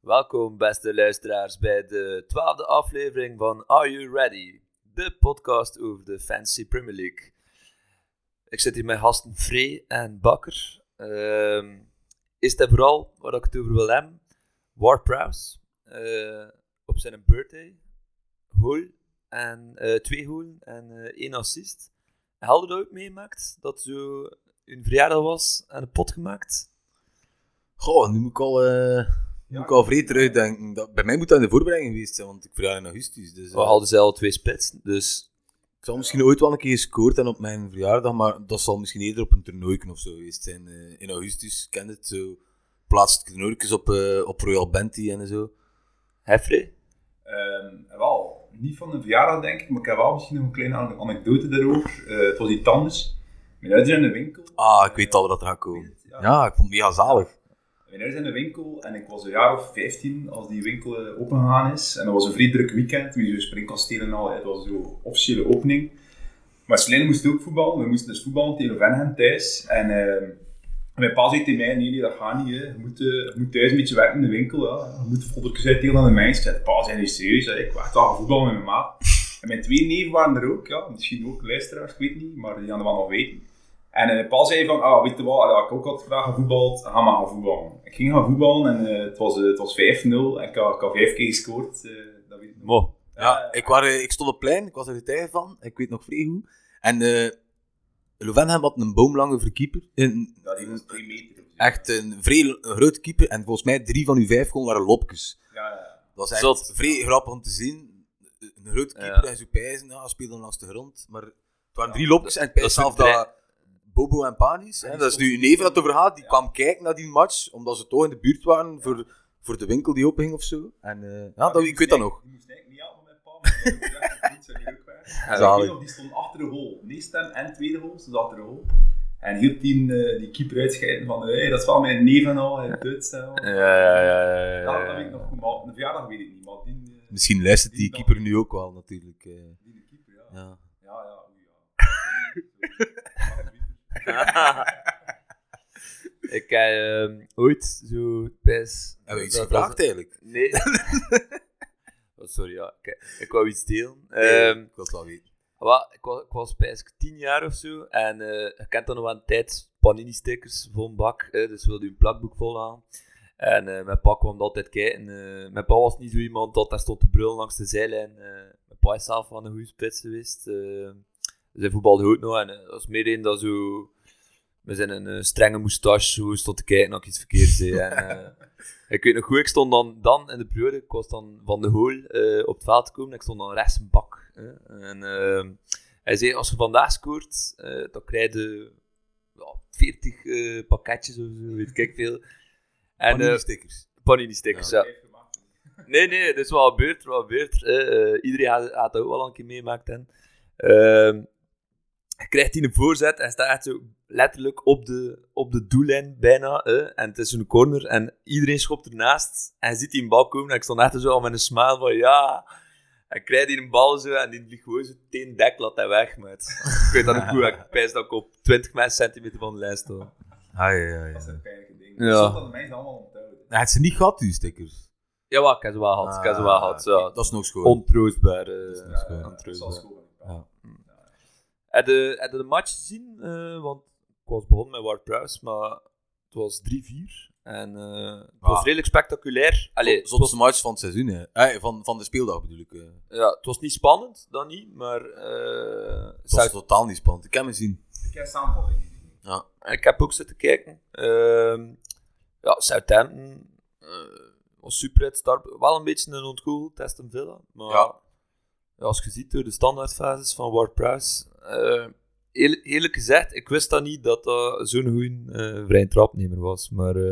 Welkom, beste luisteraars, bij de twaalfde aflevering van Are You Ready? De podcast over de Fancy Premier League. Ik zit hier met gasten Free en Bakker. Ehm is dat vooral waar ik het over wil hebben? Ward Prowse eh, op zijn birthday. Goal en eh, twee goals en eh, één assist. Helder dat ook meemaakt dat zo een verjaardag was en een pot gemaakt. Goh, nu moet ik al, eh moet ik al vrij terugdenken. Dat, bij mij moet dat in de voorbereiding geweest zijn, want ik verjaar in augustus. Dus, eh, We hadden zelf twee spits, dus Ik zal misschien ooit wel een keer gescoord hebben op mijn verjaardag, maar dat zal misschien eerder op een toernooi of zo geweest zijn. Eh, in augustus, ik ken het, zo plaatst toernooitjes op, eh, op Royal Benty en zo. Heffrey. Ehm, wel, niet van een verjaardag denk ik, maar ik heb wel misschien nog een kleine an- anekdote daarover. Eh, het was iets anders. Mijn ouders zijn in de winkel. Ah, ik weet al dat er gaat komen. Ja. Ja, ik vond het mega zalig. Mijn ouders zijn in de winkel en ik was een jaar of 15 als die winkel eh, opengegaan is. En dat was een vrij druk weekend, met zo'n springkasteel en al. Het was zo'n officiële opening. Maar Slijnen moest ook voetballen. We moesten dus voetballen tegen Venhem thuis. En ehm, mijn pa zei tegen mij, nee, nee, dat gaat niet. Hè. Je, moet, eh, je moet thuis een beetje werken in de winkel. Ja. Je moet foldertjes uitdelen aan de meisjes. Ik zei, pa, zijn jullie serieus? hè? Ik wacht al gaan voetballen met mijn maat. En mijn twee neven waren er ook. Ja. Misschien ook luisteraars, ik weet niet. Maar die gaan er wel nog weten. En eh, Paul zei van, ah, weet je wat, ja, ik ook had graag gevoetbald, ga maar gaan voetballen. Ik ging gaan voetballen en eh, het was, eh, het was 5-0 en ik had, ik had vijf keer gescoord. eh, dat weet ik nog. Mo. Ja, ik, waren, ik stond op het plein, ik was er getuige van, ik weet nog vrij hoe. En eh Lovenham had een boomlange verkeeper. Een- Ja, die was drie meter. of zo. echt een vrij l- een grote keeper. En volgens mij drie van uw vijf goals waren lopjes. Ja, ja. Dat was echt Zot. vrij grappig om te zien. Een grote keeper Ja. en zo pijzen, ja, speelde langs de grond. Maar het waren drie lopjes en ik pijs Dat is zelf een dat Bobo en Panis, hè, die dat is nu uw neef dat het over gaat, die kwam kijken naar die match, omdat ze toch in de buurt waren voor, voor de winkel die openging of zo. En, eh, ja, dat, ik weet dat nog. Ik moest eigenlijk niet helpen met Paul, maar ik dacht, dat het goed zou leuk waren. Zalig. En die Die stond achter de goal. Neestem en tweede goal, ze zat achter de goal. En hielp die, eh, die keeper uitscheiden van, eh, hey, dat is wel mijn neef en al, hij Duits en al. Ja, ja, ja, ja, Dat, dat ja. weet ik nog goed, maar een verjaardag weet ik niet, maar die, eh, Misschien luistert die keeper nu ook wel, natuurlijk. eh, die de keeper, ja. ja. Ja, ja, oei, ja. Sorry. ik heb ehm, ooit zo best. Hebben we iets dat- dat- gevraagd, eigenlijk? Nee. Oh, sorry, ja. Ik, ik wou iets delen. Nee, Ehm, ik wil het wel weten. Wel, ik was, ik was bijna 10 jaar of zo. En eh je kent dan nog wel een tijd panini-stickers vol een bak. eh, dus wilde je een plakboek vol aan. En eh, mijn pa kwam dat altijd kijken. eh, mijn pa was niet zo iemand dat daar stond te brullen langs de zijlijn. eh, mijn pa is zelf wel een goede spits geweest. eh zijn voetbalde goed nog. En eh, dat is meer een dat zo... We zijn een eh, strenge moustache, zo stond te kijken dat ik iets verkeerds deed. En, eh, ik weet nog goed, ik stond dan, dan in de periode, ik was dan van de goal eh, op het veld gekomen, ik stond dan rechts een bak. hè. en ehm, hij zei, als je vandaag scoort, eh, dan krijg je ja, 40 eh, pakketjes of zo, weet ik veel. En Panini eh stickers. panini-stickers, ja. Heeft gemaakt. Nee, nee, dat is wel gebeurd, wel gebeurd. eh, eh, iedereen had, had dat ook wel een keer meemaakt. Hè. Ehm, je krijgt die een voorzet en staat echt zo letterlijk op de, op de doellijn bijna. hè. en het is een corner en iedereen schopt ernaast. En je ziet die een bal komen en ik stond echt zo al met een smile van ja. En krijg die een bal zo en die ligt gewoon zo tegen dek, laat hij weg. Met. Ik weet dat ook goed, ik pijs dat ik op 20 centimeter van de lijn sta. Ah, ja, ja, ja. Dat zijn pijnlijke dingen. Ja. Ja. Dat de mensen allemaal onthouden. Hij had ze niet gehad, die stickers. Jawel, ik heb ze wel gehad, ik heb ze wel gehad. Ah, ja. Dat is nog schoon. Ontroostbaar. eh, Dat is Ja, goed. ja, dat is wel ontroostbaar. schoon. Ja. Heb je, heb je de match gezien? Eh, want ik was begonnen met Ward Prowse, maar het was 3-4. En eh, het was Ah. redelijk spectaculair. Allee, het, was, Zotste match van het seizoen, hè. Eh, van, van de speeldag bedoel ik. eh. Het ja, het was niet spannend, dan niet. Maar eh, was Zuid- totaal niet spannend. Ik heb hem zien. Ik heb samenvatting gezien. ik heb ook zitten kijken. Ehm, ja, Southampton eh, was super uitstart. Wel een beetje een ontgoocheld Aston Villa. Maar Ja. ja, als je ziet door de standaardfases van Ward Prowse. eh, eer- eerlijk gezegd, ik wist dat niet dat dat zo'n goede eh vrije trapnemer was. Maar eh,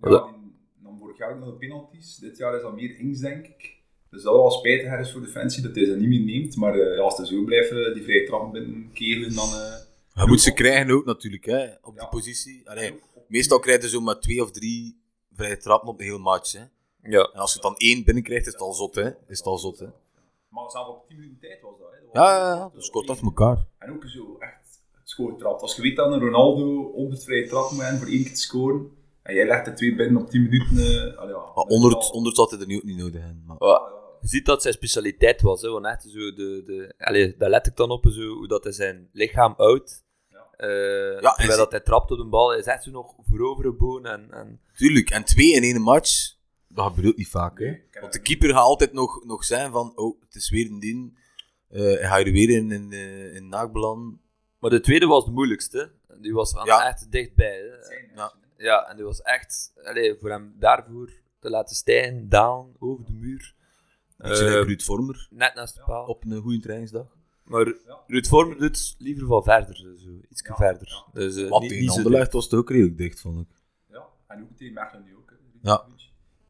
Ja, Ja. die nam vorig jaar ook nog de penalties. Dit jaar is dat meer inks, denk ik. Dus dat was spijtig ergens voor Defensie dat hij ze niet meer neemt. Maar eh, ja, als ze zo blijven, die vrije trap binnenkeren, dan... eh, Hij moet ze krijgen ook natuurlijk, hè, op die Ja. positie. Allee, ook op- meestal krijg je zo maar twee of drie vrije trappen op de hele match. Hè. ja. En als je dan één binnenkrijgt, is het al zot, hè. Is het al zot, hè. Maar zelf op 10 minuten tijd was dat. Hè. Dat was eh, Ja, ja, ja. Dus kort af elkaar. En ook zo echt het schoortrap. Als je weet dat een Ronaldo 100 vrije trappen moet hebben voor één keer te scoren. En jij legt de twee binnen op 10 minuten. eh, allee, ja, Maar dat is 100, al- 100 had hij er nu ook niet nodig. Hè. Maar, Ja, ja, ja. Je ziet dat zijn specialiteit was, hè, want echt zo de, de, allee, daar let ik dan op, zo, hoe dat hij zijn lichaam uit. Ja. eh hij terwijl zit- dat hij trapt op de bal, hij is echt zo nog voorovergebogen en, en tuurlijk, en twee in één match, dat gebeurt niet vaak. Hè. Ik heb Want de hem- keeper gaat altijd nog, nog zijn van, oh, het is weer een ding. Eh, hij gaat er weer in, in, eh, in naakbeland. Maar de tweede was de moeilijkste. Die was aan Ja. echt dichtbij. Hè. zijn Ja. mensen, hè. Ja, en die was echt allee, voor hem daarvoor te laten stijgen, dalen, over de muur. Beetje Eh, like Ruud Vormer Net naast de paal. op een goede trainingsdag. Maar Ja. Ruud Vormer doet het liever van verder. Zo, iets Ja, verder. ja. Dus, eh, Wat niet, tegen niet zo Anderlecht was het ook redelijk dicht, vond ik. Ja, en ook tegen Mechelen nu ook. hè, Ja.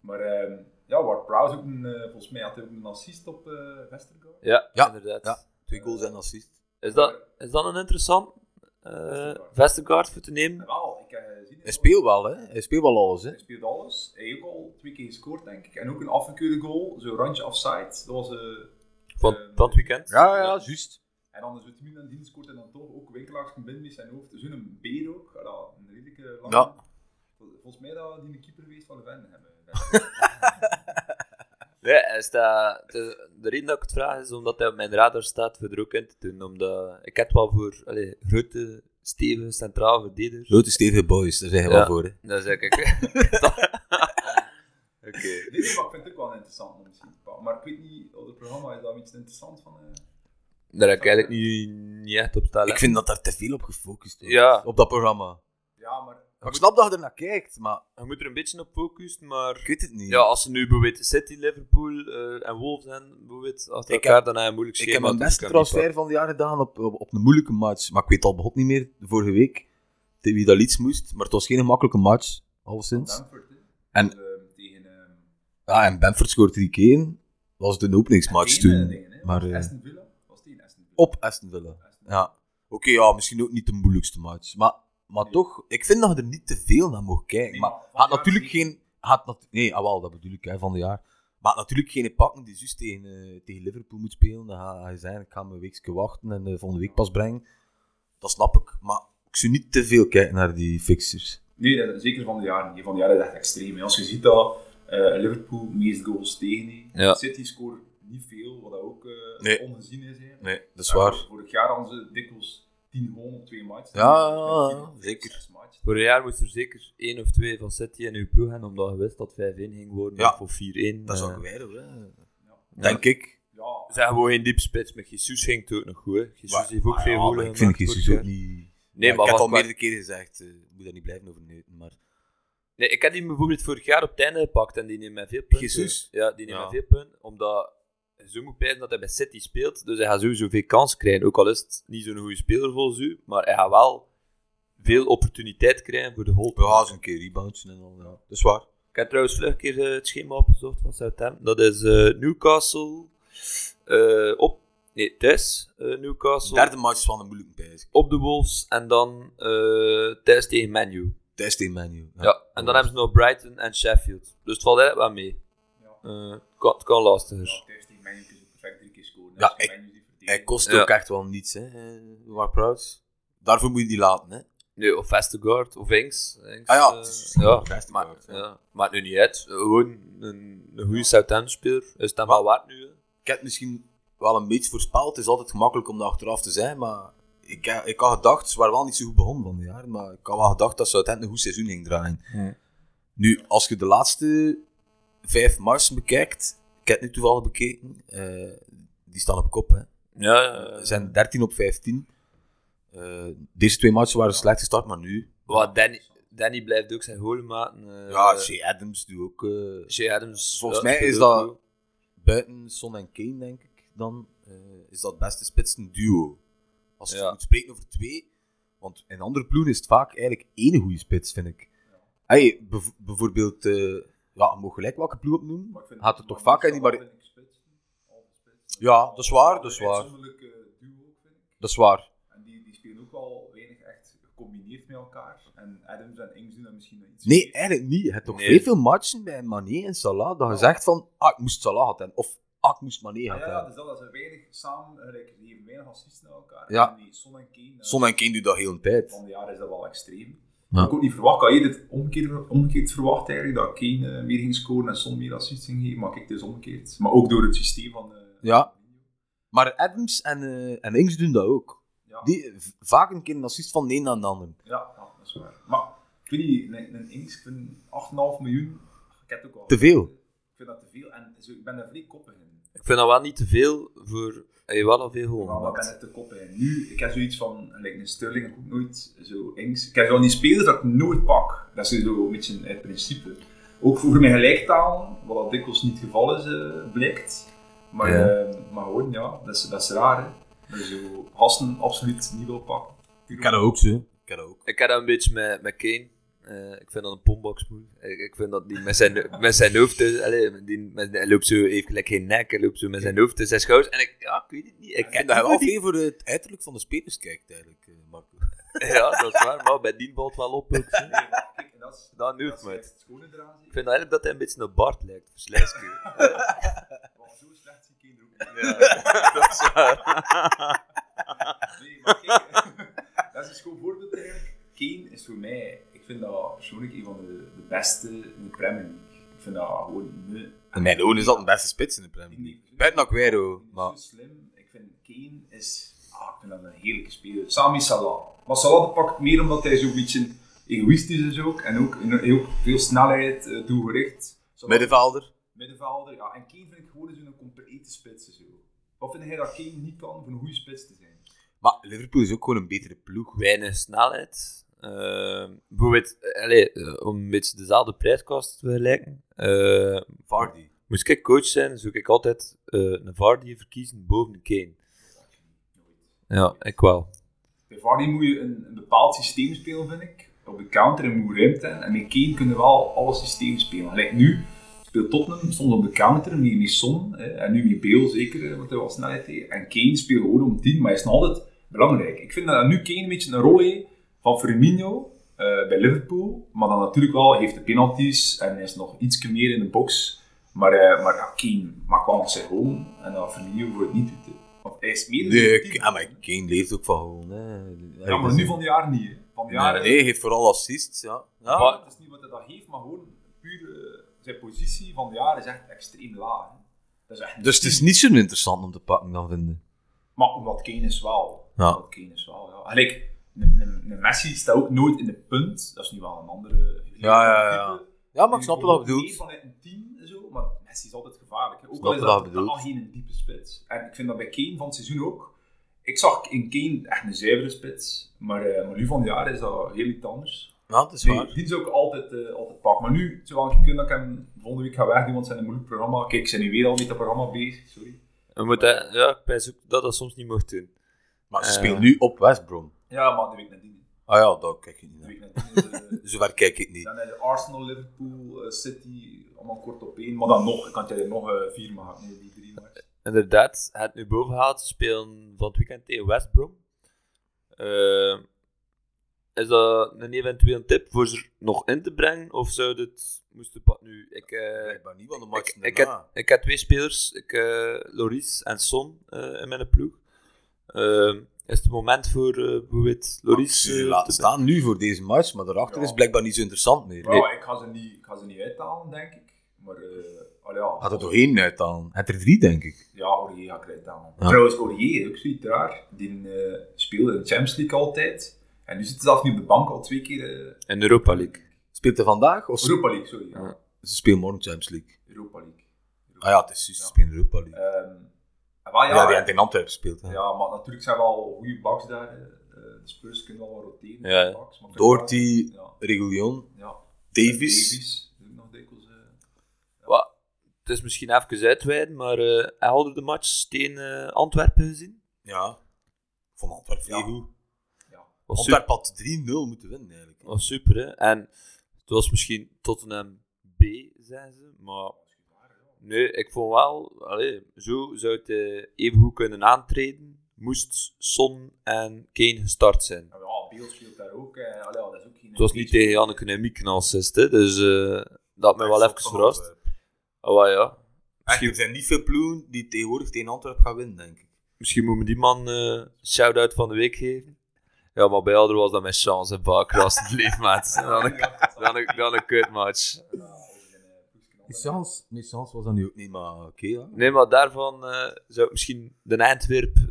Maar ehm, ja, Ward Prowse ook een, eh, volgens mij had hij ook een assist op eh Westergaard. dicht. Ja, Ja, inderdaad. ja. Twee goals en assist. Is, dat, is dat een interessant eh Westergaard. Vestergaard voor te En nemen? wel, ik heb gezien. Hij speelt wel, hè. Hij speelt wel alles, hè. Hij speelt alles. Hij heeft ook al twee keer gescoord, denk ik. En ook een afgekeurde goal, zo'n randje offside. Dat was, eh, Van eh, dat weekend? juist. En dan is het min en dienst scoort en dan toch ook winkelaars van binnen met zijn hoofd. Dus een beer ook. Ah, dat- een redelijke lange. Ja. Vol- Volgens mij dat die een keeper geweest van de Venden hebben. Ja, is dat, de, de reden dat ik het vraag is omdat hij op mijn radar staat voor er ook in te doen. Omdat ik heb wel voor allee, grote, stevige, centrale verdedigers. Grote stevige boys, daar zijn we Ja. wel voor, hè. Dat zeg ik. Oké. Dit is wat ik vind ik wel interessant misschien. Maar ik weet niet, op het programma is daar iets interessants van. eh. Daar heb ik eigenlijk niet, niet echt op staan. Ik vind dat daar te veel op gefocust wordt. Ja. Op dat programma. Ja, maar Maar ik snap dat je er naar kijkt, maar Je moet er een beetje op focussen, maar... ik weet het niet. Ja, als ze nu bijvoorbeeld City, Liverpool eh, en Wolves en bijvoorbeeld achter Ik elkaar, heb- dan heb je een moeilijk ik schema. heb mijn dus beste kan niet transfer van het jaar gedaan op, eh, op, op een moeilijke match. Maar ik weet al begot niet meer de vorige week tegen wie dat iets moest. Maar het was geen makkelijke match, alleszins. Bamford, hè. En- Dus, ehm, tegen... ehm, Ja, en Bamford scoort drie keer. Dat was de openingsmatch tegen, eh, toen. dingen, hè. Maar, eh, Aston Villa? Was die in Aston Villa? Op Aston Villa. Aston Villa. Ja. Oké, ja, misschien ook niet de moeilijkste match. Maar, maar Nee. toch, toch, ik vind dat je er niet te veel naar mag kijken. Nee, maar maar van had het natuurlijk jaar geen. Had nat nee, ah, wel, dat bedoel ik hè, van het jaar. Maar had natuurlijk geen pakken die juist tegen, eh, tegen Liverpool moet spelen. Dan ga hij zijn, ik ga mijn weekje wachten en eh, volgende week pas brengen. Dat snap ik. Maar ik zou niet te veel kijken naar die fixtures. Nee, dat is zeker van de jaren. Die van de jaren is echt extreem. hè. Als je ziet dat eh, Liverpool meest goals tegen heeft. Ja. City scoort niet veel, wat dat ook eh, Nee. ongezien is. hè. Nee, dat is Ja, waar. Vorig jaar hadden ze dikwijls 10 goals op twee matches. Ja, Dus met ja, 10 of zeker. 6 matches. Vorig jaar moest er zeker één of twee van City in uw ploeg hebben, omdat je wist dat 5-1 ging worden, Ja. of 4-1. Dat Dat is ook weer, hoor. Ja. Denk ik. Ja, zijn gewoon geen diepspits, maar Jesus ging het ook nog goed. hè. Jesus Maar- heeft ook maar veel Ah, ja, golen maar Ik vind gemaakt Jezus vorig ook jaar. niet. Nee, maar ik heb wat al qua- meerdere keren gezegd, eh, ik moet daar niet blijven over neuten. Maar Nee, ik had die bijvoorbeeld vorig jaar op het einde gepakt en die neemt mij veel punten. Jesus? Ja, die neemt Ja. mij veel punten, omdat je zo moet pijzen dat hij bij City speelt, dus hij gaat sowieso veel kans krijgen. Ook al is het niet zo'n goede speler volgens u, maar hij gaat wel veel opportuniteit krijgen voor de goal. we gaan eens een keer reboundsen en al. Ja. Dat is waar. Ik heb trouwens vlug een keer eh, het schema opgezocht van Southampton. Dat is eh, Newcastle eh, op... Nee, thuis eh, Newcastle. Derde match is wel een moeilijke prijs. Op de Wolves en dan eh, thuis tegen Man U. Thuis tegen menu. Ja. en dan hebben ze nog Brighton en Sheffield. Dus het valt eigenlijk wel mee. ja. Eh, het kan, het kan lastiger. Ja, thuis tegen Man U kun je perfect drie keer scoren. Dus- Ja, Als je ik- Man U ziet verdedigen. Hij kost Ja. ook echt wel niets, hè, eh, Mark Prowse. Daarvoor moet je die laten, hè. Nee, of Vestergaard of Inks. Inks, Ah ja, eh, het is- ja. het is- Maar, ja. ja. Maakt nu niet uit. Eh, Gewoon een, een goede Southampton-speler. Is dat wel waard nu? hè? Ik heb het misschien wel een beetje voorspeld. Het is altijd gemakkelijk om daar achteraf te zijn, maar ik, heb- ik had gedacht, ze waren wel niet zo goed begonnen van het jaar, maar ik had wel gedacht dat ze uiteindelijk een goed seizoen ging draaien. Ja. Nu, als je de laatste vijf mars bekijkt, ik heb het nu toevallig bekeken, eh, die staan op kop, hè. Ja, Ze ja. Eh, zijn 13 op 15. Eh, deze twee matchen waren slecht gestart, maar nu... Wat, Danny, Danny blijft ook zijn goal maken. eh, Ja, Shea Adams doet ook... eh, Shea Adams. Volgens ja, mij speelt ook is dat- goed. buiten Son en Kane, denk ik, dan eh, is dat het beste spitsen duo. Als je Ja. moet spreken over twee, want in andere ploegen is het vaak eigenlijk één goede spits, vind ik. Hey, bev- bijvoorbeeld, eh ja, je mag gelijk welke ploeg opnoemen. Maar ik vind- Had het maar toch vaak, hè, meestal die maar- vind ik spitsen, al de spitsen. Ja, dat is waar, dat is Een waar. uitzonderlijk, eh, duo ook, vind ik. Dat is waar. En die, die spelen ook al weinig echt gecombineerd met elkaar. En Adams en Ings doen dat misschien nog iets. Nee, meer. eigenlijk niet. Je hebt toch Nee. vrij veel matchen bij Mané en Salah dat je zegt van, ah, ik moest Salah hebben. Of Ah, ik moest Mané Ja, gehad ja, hebben. dus dat is een weinig samen, gelijk, ze geven weinig assisten aan elkaar. Ja. En die Son en Kane, eh, Son en Kane doet dat heel een tijd. van de jaren is dat wel extreem. Ja. Ik ook niet verwacht, ik had je dit omgekeerd, omgekeerd verwacht eigenlijk, dat Kane eh, meer ging scoren en Son meer assists ging geven, maar ik dus omgekeerd. Maar ook door het systeem van... eh, Ja. Maar Adams en, eh, en Ings doen dat ook. ja. Die, v- vaak een keer een assist van de een naar de ander. Ja, ja, dat is waar. Maar ik weet niet, een, een Inks, ik vind 8,5 miljoen, ik heb het ook al. Te veel. Ik vind dat te veel en zo, ik ben daar vrij koppig in. Ik vind dat wel niet te veel voor... Hij heeft wel al veel goal Maar ik ben gemaakt. er te koppig in. Nu, ik heb zoiets van, eh, like een Sterling, ik ook nooit zo Inks. Ik heb wel die spelers dat ik nooit pak. Dat is zo een beetje het principe. Ook voor mijn gelijktaal, wat dat dikwijls niet het geval is, eh, blijkt. Maar, Ja. eh, maar gewoon, ja, dat is, dat is raar. Hè. Dat je zo gasten absoluut niet wil pakken. Ik kan dat ook zo. Ik kan dat ook. Ik heb dat een beetje met, met Kane. Eh, ik vind dat een pombox move. Ik, ik vind dat die met zijn, met zijn hoofd. Dus, allee, die, met, hij loopt zo, hij heeft gelijk geen nek. Hij loopt zo met zijn hoofd tussen zijn schouders. En ik, ja, ik weet het niet. Ik Ik ken dat je die- af even voor het uiterlijk van de spelers kijkt, eigenlijk, eh, Marco. Ja, dat is waar. Maar bij die valt wel op. ook, hè. Nee, maar kijk, en dat is, Dat nu dat is maar. het schone eraan. zie je. Ik vind eigenlijk dat hij een beetje een Bart lijkt. Verslijsje. Want zo slecht zie ik er ook niet. dat is waar. Nee, maar kijk, dat is een schoon voorbeeld eigenlijk. Kane is voor mij, ik vind dat persoonlijk een van de, de beste in de Premier League. Ik vind dat gewoon me. In mijn ogen is dat een beste spits in de Premier League. Buiten Aguero, maar... Zo slim. Ik vind Kane is, ah, ik vind dat een heerlijke speler. Sami Salah. Maar Salah pakt meer omdat hij zo'n beetje egoïstisch is ook. En ook en heel veel snelheid, eh, doelgericht. Salah- Middenvelder. middenvelder. Ja, en Kane vind ik gewoon zo'n complete spits. Zo. Wat vind jij dat Kane niet kan om een goede spits te zijn? Maar Liverpool is ook gewoon een betere ploeg. Weinig snelheid. Eh, bijvoorbeeld, eh, allee, eh, om een beetje dezelfde prijskast te vergelijken. Eh, Vardy. moest ik coach zijn, zou ik altijd eh, een Vardy verkiezen boven een Kane. Ja, ik wel. Bij Vardy moet je een, een bepaald systeem spelen, vind ik. Op de counter en moet je ruimte hebben. En met Kane kunnen wel alle systemen spelen. Gelijk nu speelt Tottenham soms op de counter, met, met Son. Hè, en nu met Bale zeker, eh, want hij wel snelheid heeft. En Kane speelt gewoon om 10, maar hij is nog altijd belangrijk. Ik vind dat nu Kane een beetje een rol heeft van Firmino eh, bij Liverpool. Maar dan natuurlijk wel, hij heeft de penalties en hij is nog iets meer in de box. Maar, eh, maar ja, Kane maakt wel nog zijn goal. En dat Firmino voor het niet doet. hè. Want hij is meer in De, team. ah, maar Kane leeft ook van gewoon. hè. Ja, maar nu van de jaren niet. hè. Van de Ja, jaren, nee, hij heeft vooral assists, ja. ja. Maar het is niet wat hij dat heeft, maar gewoon puur eh, zijn positie van de jaren is echt extreem laag. hè. Dat is echt... Dus het is niet zo interessant om te pakken dan vinden. Maar omdat Kane is wel. Ja. Omdat Kane is wel, ja. Gelijk, een, een, een Messi staat ook nooit in de punt. Dat is nu wel een andere... Ja, ja, ja. type. Ja, maar ik snap wel wat je Eén bedoelt. vanuit een team en zo, maar Messi is altijd gevaarlijk. hè. Ook Snap al is wat je dat totaal bedoelt. geen diepe spits. En ik vind dat bij Kane van het seizoen ook. Ik zag in Kane echt een zuivere spits, maar, eh, maar nu van de jaren is dat heel iets anders. Ja, dat is Nee, waar. die is ook altijd, eh, altijd pak. Maar nu, terwijl ik kun dat ik hem volgende week ga wegdoen, want het zijn een moeilijk programma. Kijk, ik ben nu weer al met dat programma bezig, sorry. We moeten, ja, ik ben zo- dat dat soms niet mocht doen. Maar ze Eh. speelt nu op West Brom. Ja, maar de week nadien. Ah ja, daar kijk ik niet De naar. week nadien is, eh, Zover kijk ik niet. dan heb je Arsenal, Liverpool, eh, City, allemaal kort op één. Maar dan nog, ik kan jij er nog eh, vier maken. Nee, die drie maar. Inderdaad, het nu boven gehaald. Ze spelen van het weekend tegen West Brom. Eh, is dat een eventueel tip voor ze nog in te brengen? Of zou dit moesten pad nu? Ik, eh, Blijkbaar niet, want de ik, match ik, heb, daarna. ik heb twee spelers, ik, eh, Loris en Son, eh, in mijn ploeg. Eh, is het moment voor eh bijvoorbeeld Loris? Ze eh, laten te- staan nu voor deze match, maar daarachter Ja. is blijkbaar niet zo interessant meer. Maar ja, Nee. ik, ga ze niet, ik ga ze niet uithalen, denk ik. Maar, eh al ja. Had er toch één uit dan? Het er drie, denk ik. Ja, Aurier ga ik eruit halen. Ja. Trouwens, Aurier, ook zoiets raar. Die eh, speelde in de Champions League altijd. En nu zit hij zelf nu op de bank al twee keer. eh, In Europa League. Speelt hij vandaag? Of Europa League, sorry. Ja. Ja. ze speelt morgen Champions League? Europa League. Europa Ah ja, het is juist, ze speelt Europa League. League. Ehm, en wel, Ja, ja, die heeft in Antwerpen gespeeld. hè. ja, maar natuurlijk zijn we al goede backs daar. eh. Eh, De Spurs kunnen wel wat roteren. Ja. met de backs, maar Doherty, Ja, Regulion, ja. Davies. doe ik nog dikwijls. eh. Wa- het is misschien even uitweiden, maar eh hij hadden de match tegen eh, Antwerpen gezien. Ja. Van Antwerpen Ja. heel goed. Ja. Was super, Antwerpen had 3-0 moeten winnen eigenlijk. was super, hè. En het was misschien Tottenham B, zijn ze. Maar nee, ik vond wel, allee, zo zou het eh, even goed kunnen aantreden. Moest Son en Kane gestart zijn. En ja, Beel speelt daar ook. eh. Allee, ja, dat is ook geen Het was niet tegen Janneke en Miek een assist, hè, dus eh, dat had mij wel even verrast. Oh, ja. Echt, er zijn niet veel ploegen die tegenwoordig tegen Antwerpen gaan winnen, denk ik. Misschien moet me die man eh shout-out van de week geven. Ja, maar bij Alder was dat mijn chance. hè, Bakker, alsjeblieft, maat. Dan een, dan een, dan een kutmatch. Chance, was dat nu ook niet, maar oké. ja. Nee, maar daarvan eh, zou ik misschien de Eindwerp eh,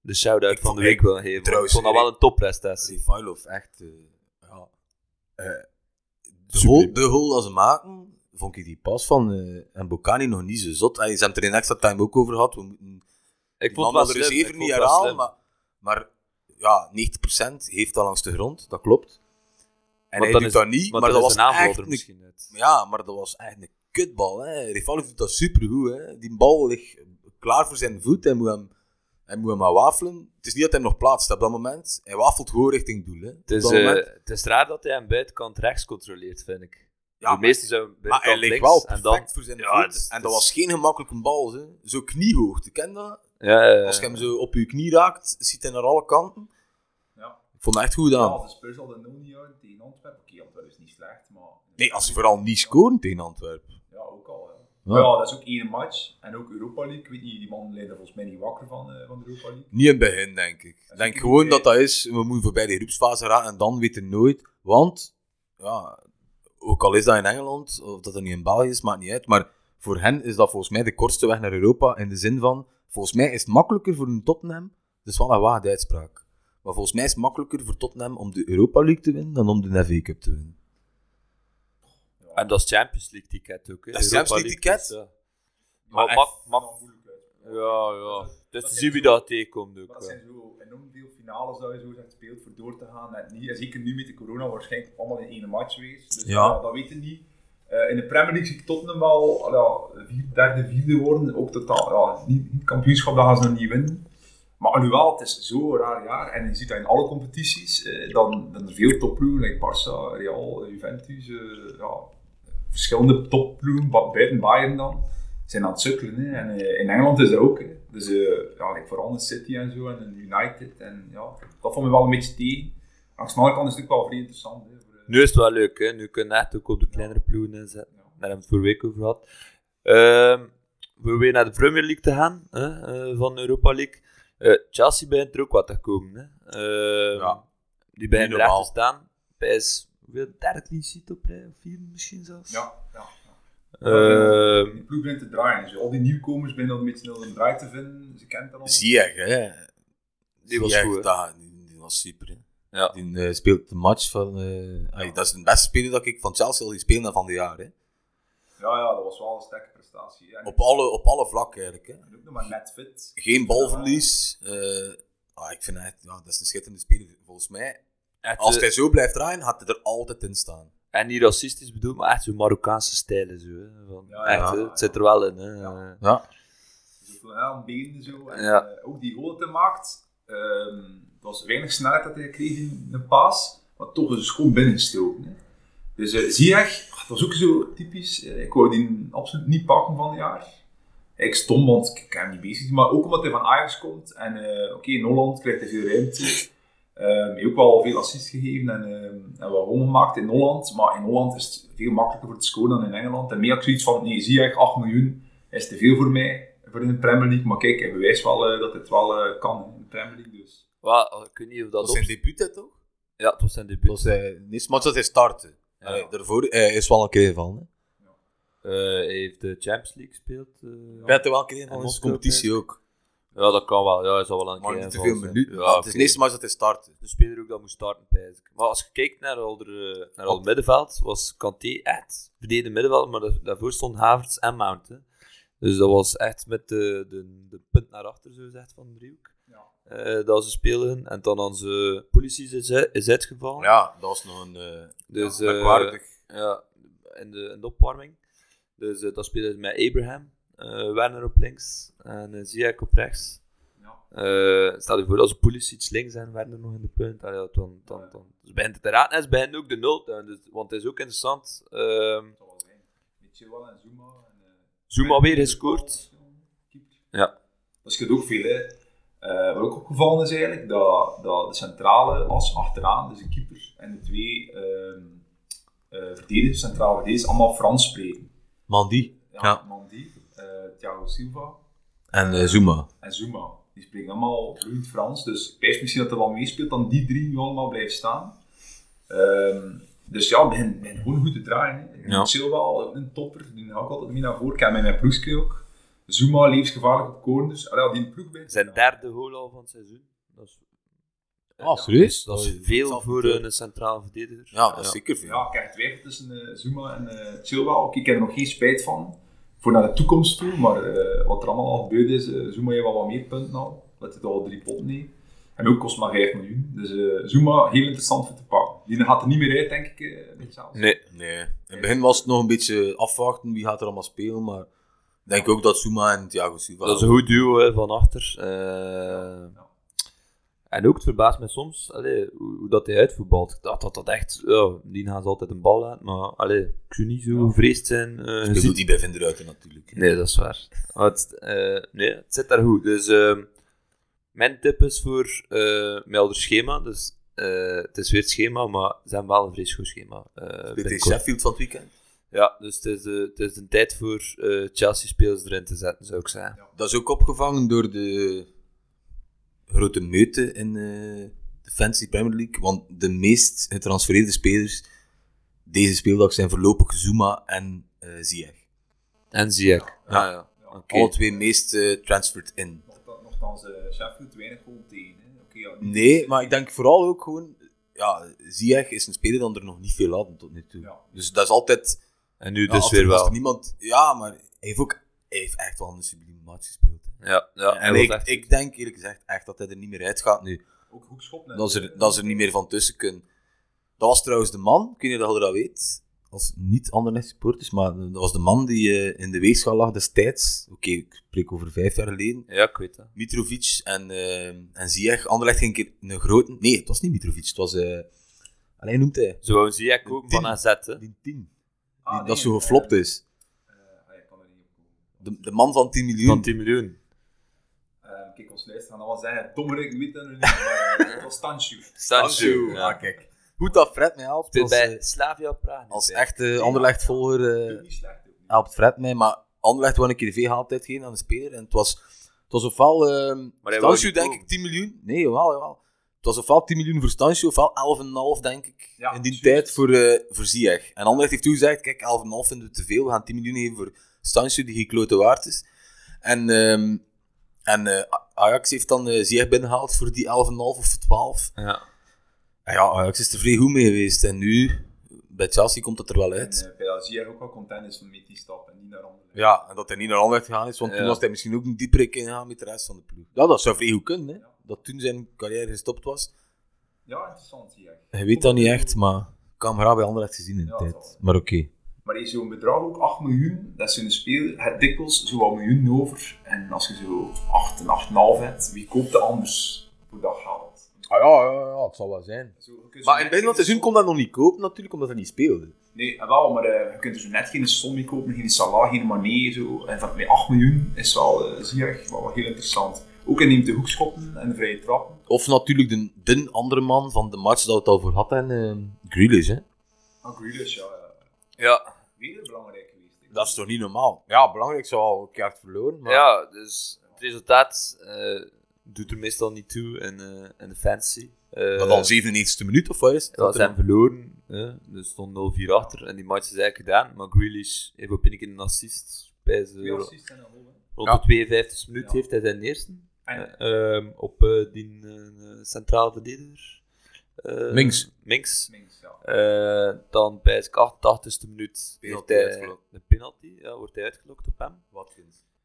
de shout-out Ik van vond- de week ik- willen geven. trouwens, ik vond dat wel een topprestatie. Sifailov, echt. eh, ja. Eh, de, Super. goal, de goal dat ze maken, vond ik die pas van eh Mbokani nog niet zo zot. Hij ze hebben het er in extra time ook over gehad. We moeten Ik die vond man het was wel er slim. Ik zeker niet vond het wel herhalen, slim. maar, maar ja, 90% heeft dat langs de grond, dat klopt. En Want hij dan is- doet dat niet, maar, Want dat dan was is een aanval echt er een, misschien uit. ja, maar dat was echt een kutbal. Hè. Rivalov doet dat supergoed. Hè. Die bal ligt klaar voor zijn voet, hij moet hem, hij moet hem maar wafelen. Het is niet dat hij hem nog plaatst op dat moment, hij wafelt gewoon richting doel. Hè. Op Het is, dat moment. eh, het is raar dat hij aan buitenkant rechts controleert, vind ik. Ja, de meeste zijn Maar hij buitenkant ligt links. wel en perfect dan, voor zijn Ja, voet. het is- en het dat is- was geen gemakkelijke bal. Hè. Zo kniehoogte, ken je dat? ja, ja, eh, ja. Als je hem zo op je knie raakt, ziet hij naar alle kanten. Ja. Ik vond het echt goed Ja, aan. als de Spurs al de 0 niet houden tegen Antwerpen. Oké, Antwerpen is niet slecht, maar... Nee, als ze vooral niet scoren tegen Antwerpen. Ja, ook al. Ja. Ja. Maar ja, dat is ook één match. En ook Europa League. Ik weet niet, die man leidt er volgens mij niet wakker van, eh, van de Europa League. Niet in het begin, denk ik. Ik is denk niet gewoon oké. dat dat is, we moeten voorbij de groepsfase raken en dan weten we nooit. Want, ja, ook al is dat in Engeland, of dat dat niet in België is, maakt niet uit. Maar voor hen is dat volgens mij de kortste weg naar Europa. In de zin van, volgens mij is het makkelijker voor een Tottenham, dat is wel een waagde uitspraak. Maar volgens mij is het makkelijker voor Tottenham om de Europa League te winnen dan om de FA Cup te winnen. En dat is Champions League ticket ook. hè. Dat is Europa Champions League League, ticket? dus, ja. Maar, Maar mak- Maar mak- moeilijk uit. Ja, ja. Dus dat dan is zien wie zo- dat tegenkomt Maar ook. dat ja. zijn zo enorm veel finales dat je zo zegt speelt voor door te gaan. En, niet, en zeker nu met de corona waarschijnlijk allemaal in één match geweest. Dus Ja. ja, dat weten we niet. Eh, in de Premier League zie ik Tottenham wel al ja, vier, derde, vierde worden. Ook totaal, ja, niet, niet kampioenschap, dat gaan ze nog niet winnen. Maar alhoewel, het is zo'n raar jaar. En je ziet dat in alle competities. eh, dan, dan er veel topploegen, like Barça, Real, eh, Juventus. eh, ja, verschillende topploegen, bu- buiten Bayern dan, zijn aan het sukkelen. Hè. En eh, in Engeland is dat ook. Hè. Dus eh, ja, like, vooral in City en zo, en in United. En ja, dat vond me wel een beetje tegen. Aan de andere kant is het natuurlijk wel vrij interessant. Hè, voor, eh, Nu is het wel leuk, hè. Nu kunnen we echt ook op de kleinere ploegen inzetten. Ja. Daar hebben we het vorige week over gehad. Ehm, we weer naar de Premier League te gaan, hè, eh, van de Europa League. Eh, Chelsea begint er ook wat te komen, hè. Ehm, Ja. Die beginnen Niet er echt normaal. te staan. Bij is, hoeveel, derde clean sheet op rij, of vier misschien zelfs? ja, ja. Ehm, De ploeg begint te draaien. Dus al die nieuwkomers beginnen al een beetje snel een draai te vinden. Ze kent dat al. Ziyech, hè. Die was Ziyech, goed, hè. dat- die, die was super, hè. Ja. Die eh, speelt de match van... eh, ay, dat is de beste speler dat ik van Chelsea al die spelen van de jaar, hè. Ja, ja, dat was wel een sterke prestatie. En Op alle, op alle vlakken, eigenlijk, hè. en ook nog maar net fit. Geen balverlies. eh, ah, ik vind het, ja, dat is een schitterende speler, volgens mij. echt, Als eh, hij zo blijft draaien, gaat hij er altijd in staan. En niet racistisch bedoeld, maar echt zo'n Marokkaanse stijl. en Zo, hè. Van, Ja, echt, ja, hè. ja. Het zit er wel in. Hè. Ja. Ja. Zoveel aan benen zo. En Ja. eh, ook die goal dat hij maakt. ehm, het was weinig snelheid dat hij kreeg in de paas. Maar toch is het gewoon binnengestoken. hè. Dus eh Ziyech, ah, dat was ook zo typisch. Eh, ik wou die absoluut niet pakken van het jaar. Ik stom, want ik ik heb hem niet bezig. Maar ook omdat hij van Ajax komt. En eh, oké, in Holland krijgt hij veel ruimte. Ehm, heeft ook wel veel assists gegeven en, ehm en wat goal gemaakt in Holland. Maar in Holland is het veel makkelijker voor te scoren dan in Engeland. En meer had ik zoiets van, nee, zie 8 miljoen is te veel voor mij, voor in de Premier League. Maar kijk, hij bewijst wel eh, dat het wel eh, kan hè, in de Premier League. Dus. Wel, ik weet niet of dat, Dat was op... zijn debuut, hè, toch? Ja, het was zijn debuut. Dat was zijn eerste match dat hij startte. Ja. Allee, daarvoor eh, is wel een keer van, hè. Eh, hij heeft de Champions League gespeeld. eh. Hij had er wel een keer En van onze Moskou, competitie ook. Ja, dat kan wel. Ja, hij zal wel een Maar keer niet te veel invallen zijn. minuten. Ja, maar Het oké. is de eerste match dat hij startte. De speler ook dat moest starten, pijs ik. Maar als je kijkt naar al, de, eh, naar al het middenveld, was Kanté echt verdedigend middenveld, maar daar- daarvoor stonden Havertz en Mount. hè. Dus dat was echt met de, de, de punt naar achter, zo gezegd, van de driehoek. Ja. eh, dat ze spelen. En dan onze politie is, uit- is uitgevallen. Ja, dat was nog een... eh, Dus, ja, eh, merkwaardig. ja, in, de, in de opwarming. Dus eh, dat speelde ze met Abraham, eh, Werner op links en eh, Ziyech op rechts. Ja. Eh, stel je voor als politie iets links en Werner nog in de punt. Allee, ja, dan, dan, dan. Dus begint het te raden en ze begint ook de nul. te houden. Dus, want het is ook interessant. ehm, Dat zal wel zijn. Beetje wel en Zuma. En, eh, Zuma weer gescoord. Ja. Dat scheelt ook veel, hè. Eh, wat ook opgevallen is eigenlijk, dat, dat de centrale as achteraan, dus de keeper en de twee ehm eh verdedigers, centrale verdedigers, allemaal Frans spreken. Mandy. Ja, Ja. Mandy. eh, Thiago Silva En eh, Zuma. en Zuma. Die spreken allemaal vloeiend Frans, dus ik wijs misschien dat er wel meespeelt dan die drie nu allemaal blijven staan. Ehm, dus ja, ben, ben gewoon goed te draaien. hè. Ja. Silva, al een topper, die hou ik altijd mee naar voren. Ik heb met mijn ploegje ook. Zuma, levensgevaarlijk op koren, dus allee, ja, die ploeg bij. Zijn derde goal al van het seizoen. Dat is, Ah, serieus? dat is veel voor Ja, een centrale verdediger. eh, dat is zeker veel. Ja, ik heb twijfel tussen eh, Zuma en eh Silva. Ook ik heb er nog geen spijt van. Voor naar de toekomst toe. Maar eh, wat er allemaal al gebeurd is, eh, Zuma heeft wel wat meer punten al. Dat het al drie potten heeft. En ook kost maar 5 miljoen. Dus eh, Zuma, heel interessant voor te pakken. Die gaat er niet meer uit, denk ik. eh, met zelfs. Nee. Nee. In het begin was het nog een beetje afwachten wie gaat er allemaal spelen, maar ik denk ook dat Zuma en Thiago Silva... Dat is een goed duo hè, van achter. Eh, Ja. En ook, het verbaast me soms allee, hoe, hoe dat hij uitvoetbalt. Ik dacht dat dat echt, ja, die gaan ze altijd een bal laten, maar allee, ik zou niet zo Ja. gevreesd zijn. eh, Ik gezien- bedoel, die bij Vinderuiten natuurlijk. Nee, dat is waar. Maar het, eh, nee, het zit daar goed. Dus ehm, mijn tip is voor eh mijn ouder schema. Dus, eh, het is weer het schema, maar ze hebben wel een vreselijk goed schema. eh, Dit is binnenkort. Sheffield van het weekend. Ja, dus het is, eh, het is een tijd voor eh, Chelsea-spelers erin te zetten, zou ik zeggen. Dat is ook opgevangen door de grote meute in eh, de Fantasy Premier League. Want de meest getransfereerde spelers deze speeldag zijn voorlopig Zuma en eh Ziyech. En Ziyech. Ja. Ah, ja. Ja. Oké. Alle twee meest eh, transferred in. Nochta- Nochtans, eh Sheffield weinig goal tegen. hè. Oké, ja, nu- Nee, maar ik denk vooral ook gewoon... Ja, Ziyech is een speler dat er nog niet veel hadden tot nu toe. Ja. Dus dat is altijd... En nu ja, dus als weer er- als er wel. niemand, ja, maar hij heeft, ook, hij heeft echt wel een sublieme match gespeeld. hè. Ja, ja, hij en was ik, echt- ik denk eerlijk gezegd echt dat hij er niet meer uitgaat nu. Ook hoekschop. net, dat ze, er, eh, dat ze er niet meer van tussen kunnen. Dat was trouwens de man, ik weet niet of je dat weet, als niet Anderlecht supporters, maar dat was de man die eh, in de weegschaal lag destijds, oké, ik spreek over vijf jaar geleden, Ja, ik weet dat. Mitrovic en, eh en Ziyech, Anderlecht ging een keer een grote, nee, het was niet Mitrovic, het was, eh alleen noemt hij, Zo wou Ziyech ook Tien. van AZ, hè. die tien, Ah, die- nee, dat zo eh, geflopt is. eh, ah, ja, ik kan er niet op komen. De, de man van 10 miljoen. Van 10 miljoen. Eh, Kijk, ons luisteren gaan allemaal zeggen, dommerik, ik weet dat nu niet, maar eh, het was Tanshu. Sancho. Ja, Ah, Ja. kijk. Goed dat Fred mij helpt. Speelt Als, bij eh, Slavia Praag. als echte Anderlecht-volger... eh, Niet slecht. ook niet. helpt Fred mij, maar Anderlecht wou een keer de altijd geen aan de speler. En het was, het was ofwel ehm Maar hij wou Stansio, niet denk komen. ik, 10 miljoen. Nee, jawel, jawel. Het was ofwel 10 miljoen voor Stansio, ofwel 11,5 denk ik. Ja, in die juist. tijd voor, eh voor Ziyech. En Anderlecht heeft toegezegd, kijk, 11,5 vinden we te veel. We gaan 10 miljoen geven voor Stansio, die geklote waard is. En, ehm, en eh, Ajax heeft dan eh Ziyech binnengehaald voor die 11,5 of 12. Ja. En ja, Ajax is er vrij goed mee geweest. En nu, bij Chelsea komt het er wel uit. En eh, bij dat zie je ook wel content is van met die stap en niet naar andere. Ja, en dat hij niet naar Anderlecht gegaan is, want Ja. toen was hij misschien ook een diepere keer gegaan met de rest van de ploeg. Ja, dat zou vrij goed kunnen, hè. Dat toen zijn carrière gestopt was. Ja, interessant zie je. Je weet dat niet echt, maar ik heb hem graag bij Anderlecht gezien in de Ja, tijd. dat wel. Maar oké. Maar is zo'n bedrag ook 8 miljoen, dat is een speler, het dikwijls zo wat miljoen over. En als je zo 8 en 8,5 hebt, wie koopt de anders voor dat geld? Ah ja, ja, ja, het zal wel zijn. Zo, je kunt zo Maar in net het begin van het geen seizoen som- kon dat nog niet kopen natuurlijk, omdat hij niet speelde. Nee, eh, wel, maar eh, je kunt er zo net geen som mee kopen, geen Salah, geen Mané, zo. En van, met 8 miljoen is wel, eh zie je, wel, wel heel interessant. Ook hij neemt de hoekschoppen en de vrije trappen. Of natuurlijk de, de andere man van de match dat we het al voor hadden, en eh, Grealish, hè. Maar Ah, Grealish, ja, ja, Ja. weer belangrijk geweest. hè. Dat is toch niet normaal? Ja, belangrijk, zou al een keer verloren, maar... ja, dus het resultaat eh, doet er meestal niet toe in, eh, in de fancy. Maar dan 97e minuut, of wat is het? ja, eh, Dat ze er- hebben verloren. hè. Er stond 0-4 achter en die match is eigenlijk gedaan. Maar Grealish heeft op een keer een assist. Bij ze Twee rond assists en een goal, hè. Ja. de 52e minuut Ja. Ah, heeft hij zijn eerste. En- Eh, ehm, op eh, die eh, centrale verdediger. Eh, Minks. Minks. Minks, ja. Eh, dan bij de 88ste minuut Penalty heeft hij uitgelokt. een penalty, ja, wordt hij uitgelokt op hem.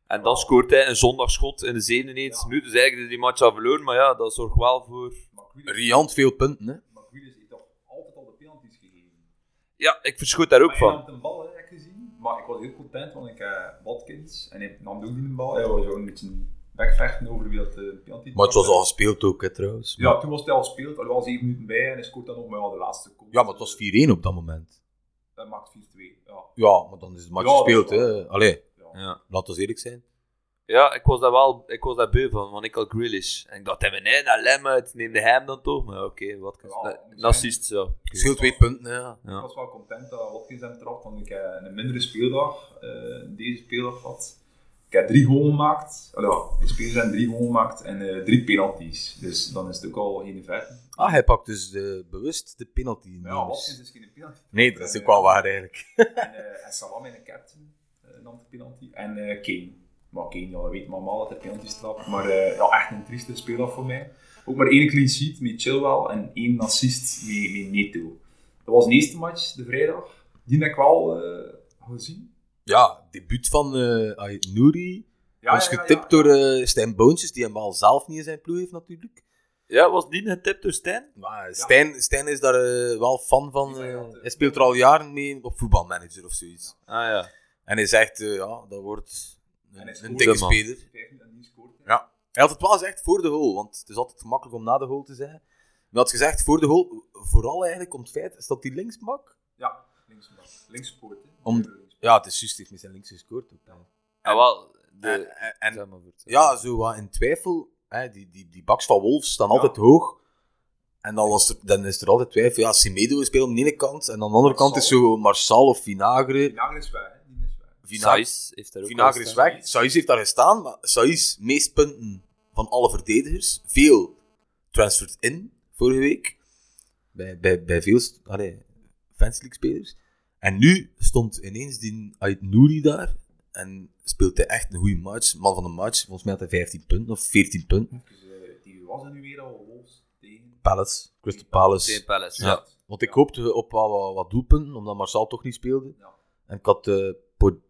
En dan Oh. scoort hij een zondagschot in de 97 Ja. e minuut. Dus eigenlijk is die match al verloren, maar ja, dat zorgt wel voor... Maar Grealish- Riant veel punten, hè. Maar Grealish heeft toch altijd al de penalties gegeven. Ja, ik verschoot daar ook Maar hij van. nam een bal, heb ik gezien. Maar ik was heel content, want ik heb Watkins en hij nam ook niet een bal. Hij was zo een beetje wegvechten over wie dat de eh, penalty Maar het was al gespeeld ook, hè, trouwens. Ja, toen was hij al gespeeld, er was 7 minuten bij en hij scoort dan nog maar ja, de laatste seconde. Ja, maar het was 4-1 op dat moment. Hij maakt 4-2, ja. Ja, maar dan is het match Ja, dat gespeeld, is waar. hè. Allee, ja. Ja, laten we eerlijk zijn. ja ik was daar wel ik was daar beu van, want ik had Grealish. En ik dacht, nee, nee, naar Lem uit, neemde hij hem dan toch? Maar oké, wat kan... Ja, een assist, zo. Het scheelt twee punten, hè, ja. Ja. Ik was wel content dat Watkins hem trapt, want ik heb een mindere eh, speeldag, eh, deze speeldag had. Ik Ik heb drie goals gemaakt. Allee, ja, mijn spelers hebben drie goals gemaakt en eh, drie penalties. Dus dan is het ook al geen ver. Ah, hij pakt dus de, bewust de penalty. Ja, Watkins is dus geen penalty. Nee, dat is ook wel waar eigenlijk. En, eh, en Salam in de captain eh, nam de penalty. En eh, Kane. Maar Kane, ja, dat weet maar allemaal dat hij penalty's trapt. Maar eh, ja, echt een trieste speler voor mij. Ook maar één clean sheet met Chilwell en één assist met, met Neto. Dat was de eerste match, de vrijdag. Die heb ik wel eh, gezien. Ja, debuut van eh Ait Nouri. Ja, was ja, ja, ja. getipt door eh, Stijn Boontjes, die hem al zelf niet in zijn ploeg heeft natuurlijk. Ja, was niet een tip door Stijn? Maar Stijn, Stijn is daar eh, wel fan van. Die eh, had, eh, hij speelt er al jaren mee op voetbalmanager of zoiets. Ah ja. En hij zegt, eh, ja, dat wordt En hij een, een scoort, dikke man. speler. Vijf minuten en die scoort. Ja. Hij had het wel gezegd voor de goal, want het is altijd gemakkelijk om na de goal te zeggen. Hij had gezegd voor de goal, vooral eigenlijk om het feit, is dat hij links mak? Ja, links, links scoort. hè. Om- Links. Ja, het is juist, hij heeft met zijn links gescoord. ook dan. Ah, wel, En, de... en- en- Zeg maar voort. ja, zo wat in twijfel, hè, die, die, die baks van Wolves staan Ja. altijd hoog. En dan, was er, dan is er altijd twijfel, ja, Semedo speelt aan de ene kant, en aan de andere kant is zo Marçal of Vinagre. Vinagre is weg, hè. Die is weg. Vinagre, Saiz heeft daar ook Vinagre al is staan. weg. Saiz heeft daar gestaan, maar Saiz, meest punten van alle verdedigers. Veel transfert in vorige week. Bij, bij, bij veel st- allee, Fans League spelers. En nu stond ineens die Ait Nouri daar. En speelde hij echt een goede match. Man van de match. Volgens mij had hij 15 punten of 14 punten. Dus, eh, die was er nu weer al, Wolves. Tegen. Palace, Crystal Palace. Tegen Palace. Ja. Want ik hoopte op wat, wat, wat doelpunten, omdat Marcel toch niet speelde. Ja. En ik had eh, Po-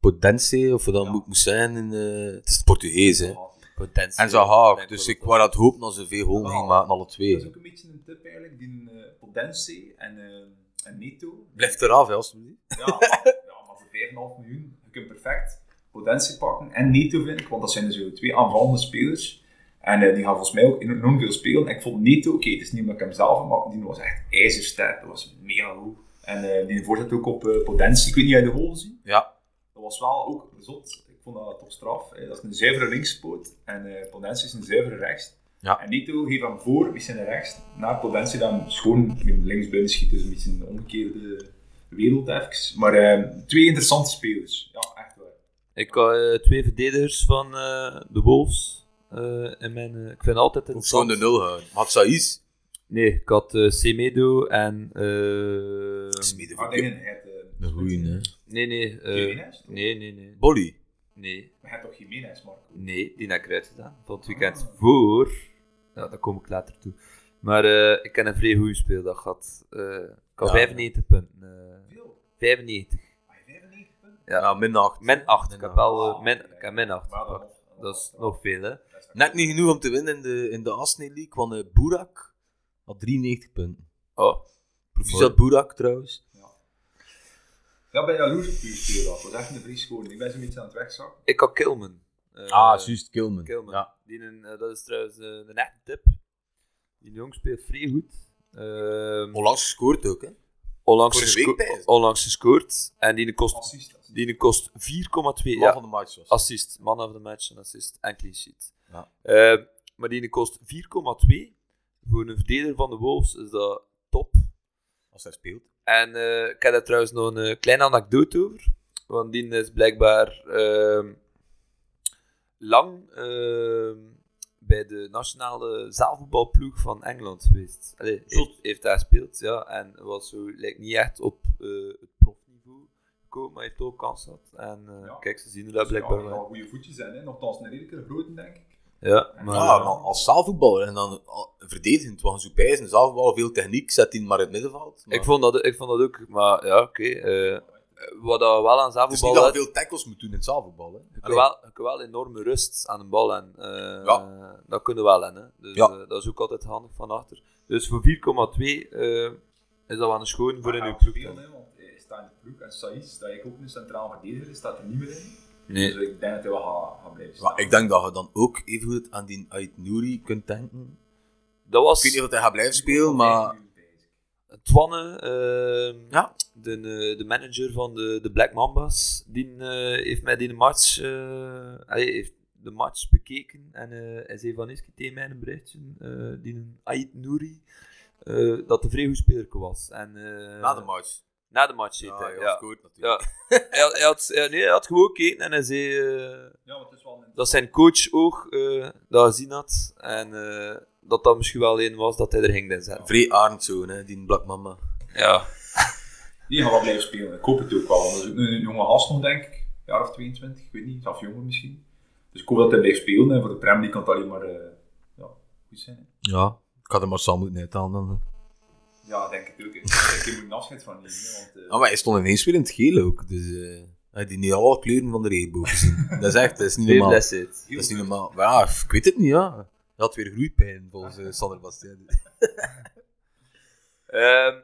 Podense, of wat dat Ja. moet- moest zijn. In, eh, het is het Portugees, hè. Potentie. En Zaha, Denk dus wel ik wou dat hoop dat ze veel holen Ja. ging maken, alle Dat is twee. ook een beetje een tip eigenlijk, die eh Potentie en, eh en Neto. Blijf eraf, hè, alsjeblieft. Ja, maar, ja, maar voor 5,5 miljoen, je kunt perfect Potentie pakken en Neto vind ik, want dat zijn dus zo twee aanvallende spelers. En eh, die gaan volgens mij ook enorm veel spelen. En ik vond Neto, oké, het is niet omdat ik hem zelf heb, maar die was echt ijzersterk. Dat was mega goed. En eh, die voorzet ook op eh, Potentie. Ik weet niet, heb je de goal gezien? Ja. Dat was wel ook zot. Ik vond dat toch straf. Eh, Dat is een zuivere linkspoot en eh Potentie is een zuivere rechts. Ja. En Nito geeft hem voor, wie zijn de rechts. Naar Potentie dan schoon met links binnen schiet. Dus een beetje een omgekeerde wereld even. Maar eh, twee interessante spelers. Ja, echt waar. Ik had eh, twee verdedigers van eh, de Wolves. eh, in mijn, eh, ik vind altijd het. Ook zo in de nul houden. Maar Saïs, Nee, ik had eh, Semedo en. eh, Smede Maar voor Ah, dingen, hij heeft, eh, Een goeie, hè. nee, nee, eh, Jiménez? nee, nee, nee, Bolly. nee, Maar hij heeft toch Jiménez, Marco? nee, die heb ik eruit gedaan. Van het weekend Ah. voor. Ja, daar kom ik later toe. Maar eh, ik heb een vrij goede speeldag gehad. Eh, ik had Ja. 95 punten. eh, Veel. 95. Maar hij heeft 95 punten. Ja. Ja, min 8. Min 8. Ik Min heb wel acht. eh, min, ik heb min 8 Maar dat gepakt. nog- Dat is nog veel, Oh, hè? dat is- Net niet genoeg om te winnen in de, in de Asne League, want eh, Boerak had 93 punten. Oh, Proficiat Boerak, trouwens. Ja, ik ben jaloers op uw speeldag. Dat was echt een vrij schoon. Ik ben zo'n beetje aan het wegzakken. ik had Kilman. Eh, Ah, juist, Kilman. Kilman. Ja. Die een, eh, dat is trouwens eh, een echte tip. Die jong speelt vrij goed. Ehm, Onlangs gescoord ook, hè. onlangs, vorige week gesco- bij is. onlangs gescoord. En die kost, Assist. assist. die kost 4,2. Man Ja, van de match was. assist. Man of the match, een assist en clean sheet. Ja. Ehm, maar die kost 4,2. Voor een verdediger van de Wolves is dat top. Als hij speelt. En eh, ik heb daar trouwens nog een eh, kleine anekdote over. Want die is blijkbaar ehm, lang ehm, bij de nationale zaalvoetbalploeg van Engeland geweest. Allee, heeft, heeft daar gespeeld, ja. En was zo, lijkt niet echt op eh, het profniveau gekomen, maar heeft ook kans gehad. En eh, Ja. kijk, ze zien er daar blijkbaar Ja, wel. al goede voetjes zijn, hè. Nogthans een redelijke grote, denk ik. Ja, maar... Ja, Ah, maar als zaalvoetballer en dan al- verdedigend, want zo bij is een zaalvoetballer, veel techniek, zet hij maar in het middenveld. Maar Ik vond, dat, ik vond dat ook, maar ja, oké. eh, wat dat wel aan het is niet dat zaalvoetbal je veel tackles moet doen in het zaalvoetbal. Hè. Je Allee. kunt, wel, je kunt wel enorme rust aan de bal en eh, dat kunnen wel en hè. Dus Ja. eh, dat is ook altijd handig van achter. Dus voor 4,2 eh, is dat wel een schoon voor in uw ploeg. spelen, dan. hè, want hij staat in de ploeg. En Saïs, dat ik ook een centraal verdediger is, staat er niet meer in. Dus Nee. ik denk dat hij wel gaat, gaat blijven staan. Dus Maar ik denk dat je dan ook even goed aan die Ait Nouri kunt denken. Dat Ik weet niet was of hij gaat blijven Ik spelen, vond dat maar vijf uur bezig. Twanne, eh, Ja. de, eh, de manager van de, de Black Mambas. Die eh, heeft mij die match, eh, hij heeft de match bekeken en eh, hij zei van Iski tegen mij in een berichtje, eh, die een Ait Nouri, eh, dat de vrij goede speler was. En, eh, na de match. Na de match zitten. ja, Ja, ja, dat is goed natuurlijk. Hij, had- hij had, eh, nee, hij had gewoon gekeken en hij zei eh, Ja, want het is wel een... dat zijn coach ook eh, dat gezien had. En eh, dat dat misschien wel één was dat hij er ging inzetten. Vrij Arendzoon, hè, die Black Mama. Ja. Die gaan wel blijven spelen. Ik hoop het ook wel. want Dat is ook een, een jonge gast nog, denk ik. Een jaar of 22, ik weet niet. Of jonger misschien. Dus ik hoop dat hij blijft spelen. En voor de Premier League kan het alleen maar eh, ja, goed zijn. hè. Ja, ik had hem maar Sam moeten uithalen. dan, hè. Ja, ik denk het ook. hè. Ik denk, ik moet een afscheid van nemen. hè, Want, eh, Ja, Ah, maar hij stond ineens weer in het geel ook. Dus eh, hij had die niet alle kleuren van de regenboog gezien. dat is echt, dat is niet Twee normaal. blessed. Dat is niet normaal. Maar ja, ik weet het niet, ja. Hij had weer groeipijn, volgens eh, Sander Bastien. Ehm,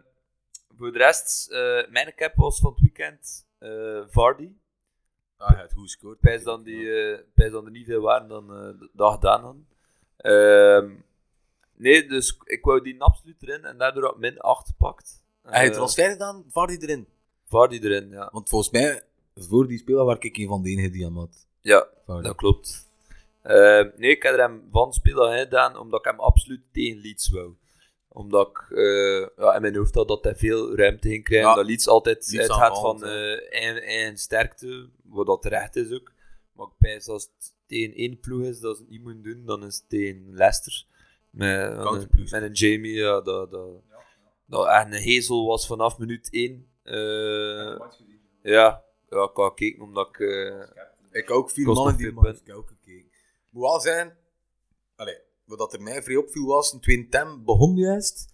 voor de rest, eh, mijn cap was van het weekend eh, Vardy. Ah, hij had goed gescoord. Pijs dan, die, eh pijs dan er niet veel waren dan eh dat gedaan hadden. Ehm, nee, dus ik wou die absoluut erin en daardoor had ik min 8 gepakt. Hij heeft Eh, transfer gedaan, Vardy erin. Vardy erin, ja. Want volgens mij, voor die speler waar ik een van de enigen die hem had. Ja, Vardy. dat klopt. Ehm, nee, ik had er hem van spelen gedaan omdat ik hem absoluut tegen Leeds wou. Omdat ik eh, ja, in mijn hoofd had dat hij veel ruimte ging krijgen. Ja. Dat Leeds altijd Leeds uitgaat aanvallend, van eh eigen, eigen sterkte, wat dat terecht is ook. Maar ik pijs als het tegen één ploeg is dat ze het niet moeten doen, dan is het tegen Leicester. Met, een, Counterploeg. met een Jamie, ja, dat, dat, dat echt een hezel was vanaf minuut één. Eh, ja, ja, ik ga kijken omdat ik... eh, dus Ik ook vier Kost mannen nog die veel man. Ik ook gekeken. Moet wel zijn, allee, wat er mij vrij opviel was, een tweede tem begon juist.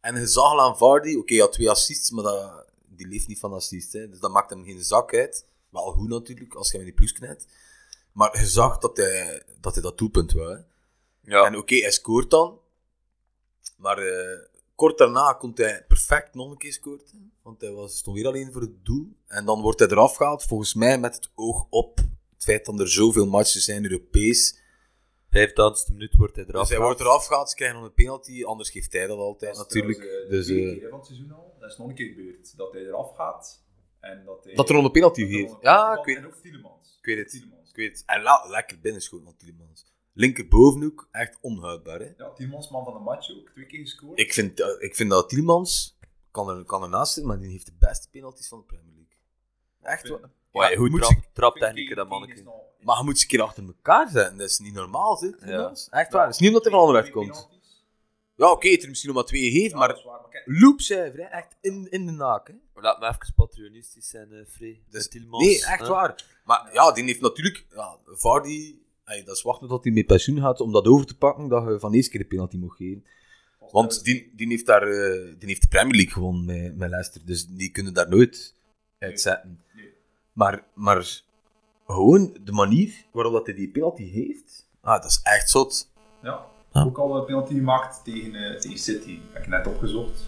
En je zag al aan Vardy, oké, hij had twee assists, maar dat, die leeft niet van assists. Hè, dus dat maakt hem geen zak uit. Wel goed natuurlijk, als je hem in die plus knijpt. Maar je zag dat hij dat, hij dat doelpunt wou. Hè. ja. En oké, hij scoort dan. Maar eh, kort daarna komt hij perfect nog een keer scoort. hè. Want hij was, stond weer alleen voor het doel. En dan wordt hij eraf gehaald, volgens mij met het oog op het feit dat er zoveel matchen zijn Europees. 85 minuut wordt hij eraf. Dus hij gehaald. wordt eraf gehaald, ze krijgen nog een penalty, anders geeft hij dat altijd natuurlijk. dus, dus, eh, keer van het seizoen al. Dat is nog een keer gebeurd. Dat hij eraf gaat. En dat, hij, dat er nog een penalty dat er nog geeft. een Ja, penalty ik valt. weet En het. ook Tielemans. Ik weet het. Tielemans. Ik weet het. En la, lekker binnenschoot van Tielemans. Linkerbovenhoek, echt onhoudbaar. Hè? Ja, Tielemans, man van de match ook. Twee keer gescoord. Ik, vind, eh, ik vind dat Tielemans kan, er, kan ernaast zitten, maar die heeft de beste penalties van de Premier League. Echt vind- waar. Maar ja, Ja, goed moet trap, ze- traptechnieken, dat manneke. Maar je moet ze een keer achter elkaar zetten. Dat is niet normaal, zeg. Tielemans. Echt waar. Het dat is niet omdat hij van onderweg komt. Ja, oké, het er misschien nog maar twee geeft, maar loopcijfer, hè. echt in, in de naak. Hè. Laat me even patronistisch zijn, eh Free. Dus- Dus, Tilmans, Nee, echt hè? waar. Maar ja, die heeft natuurlijk... Ja, Vardy, ey, dat is wachten tot hij met pensioen gaat om dat over te pakken, dat je van eerste keer de penalty mag geven. Want die, die, heeft, daar, eh, die heeft de Premier League gewonnen met, met Leicester, dus die kunnen daar nooit uitzetten. Nee. Maar, maar gewoon de manier waarop dat hij die penalty heeft, ah, dat is echt zot. Ja, Ah. ook al een penalty gemaakt tegen, eh, tegen City. Heb ik net opgezocht.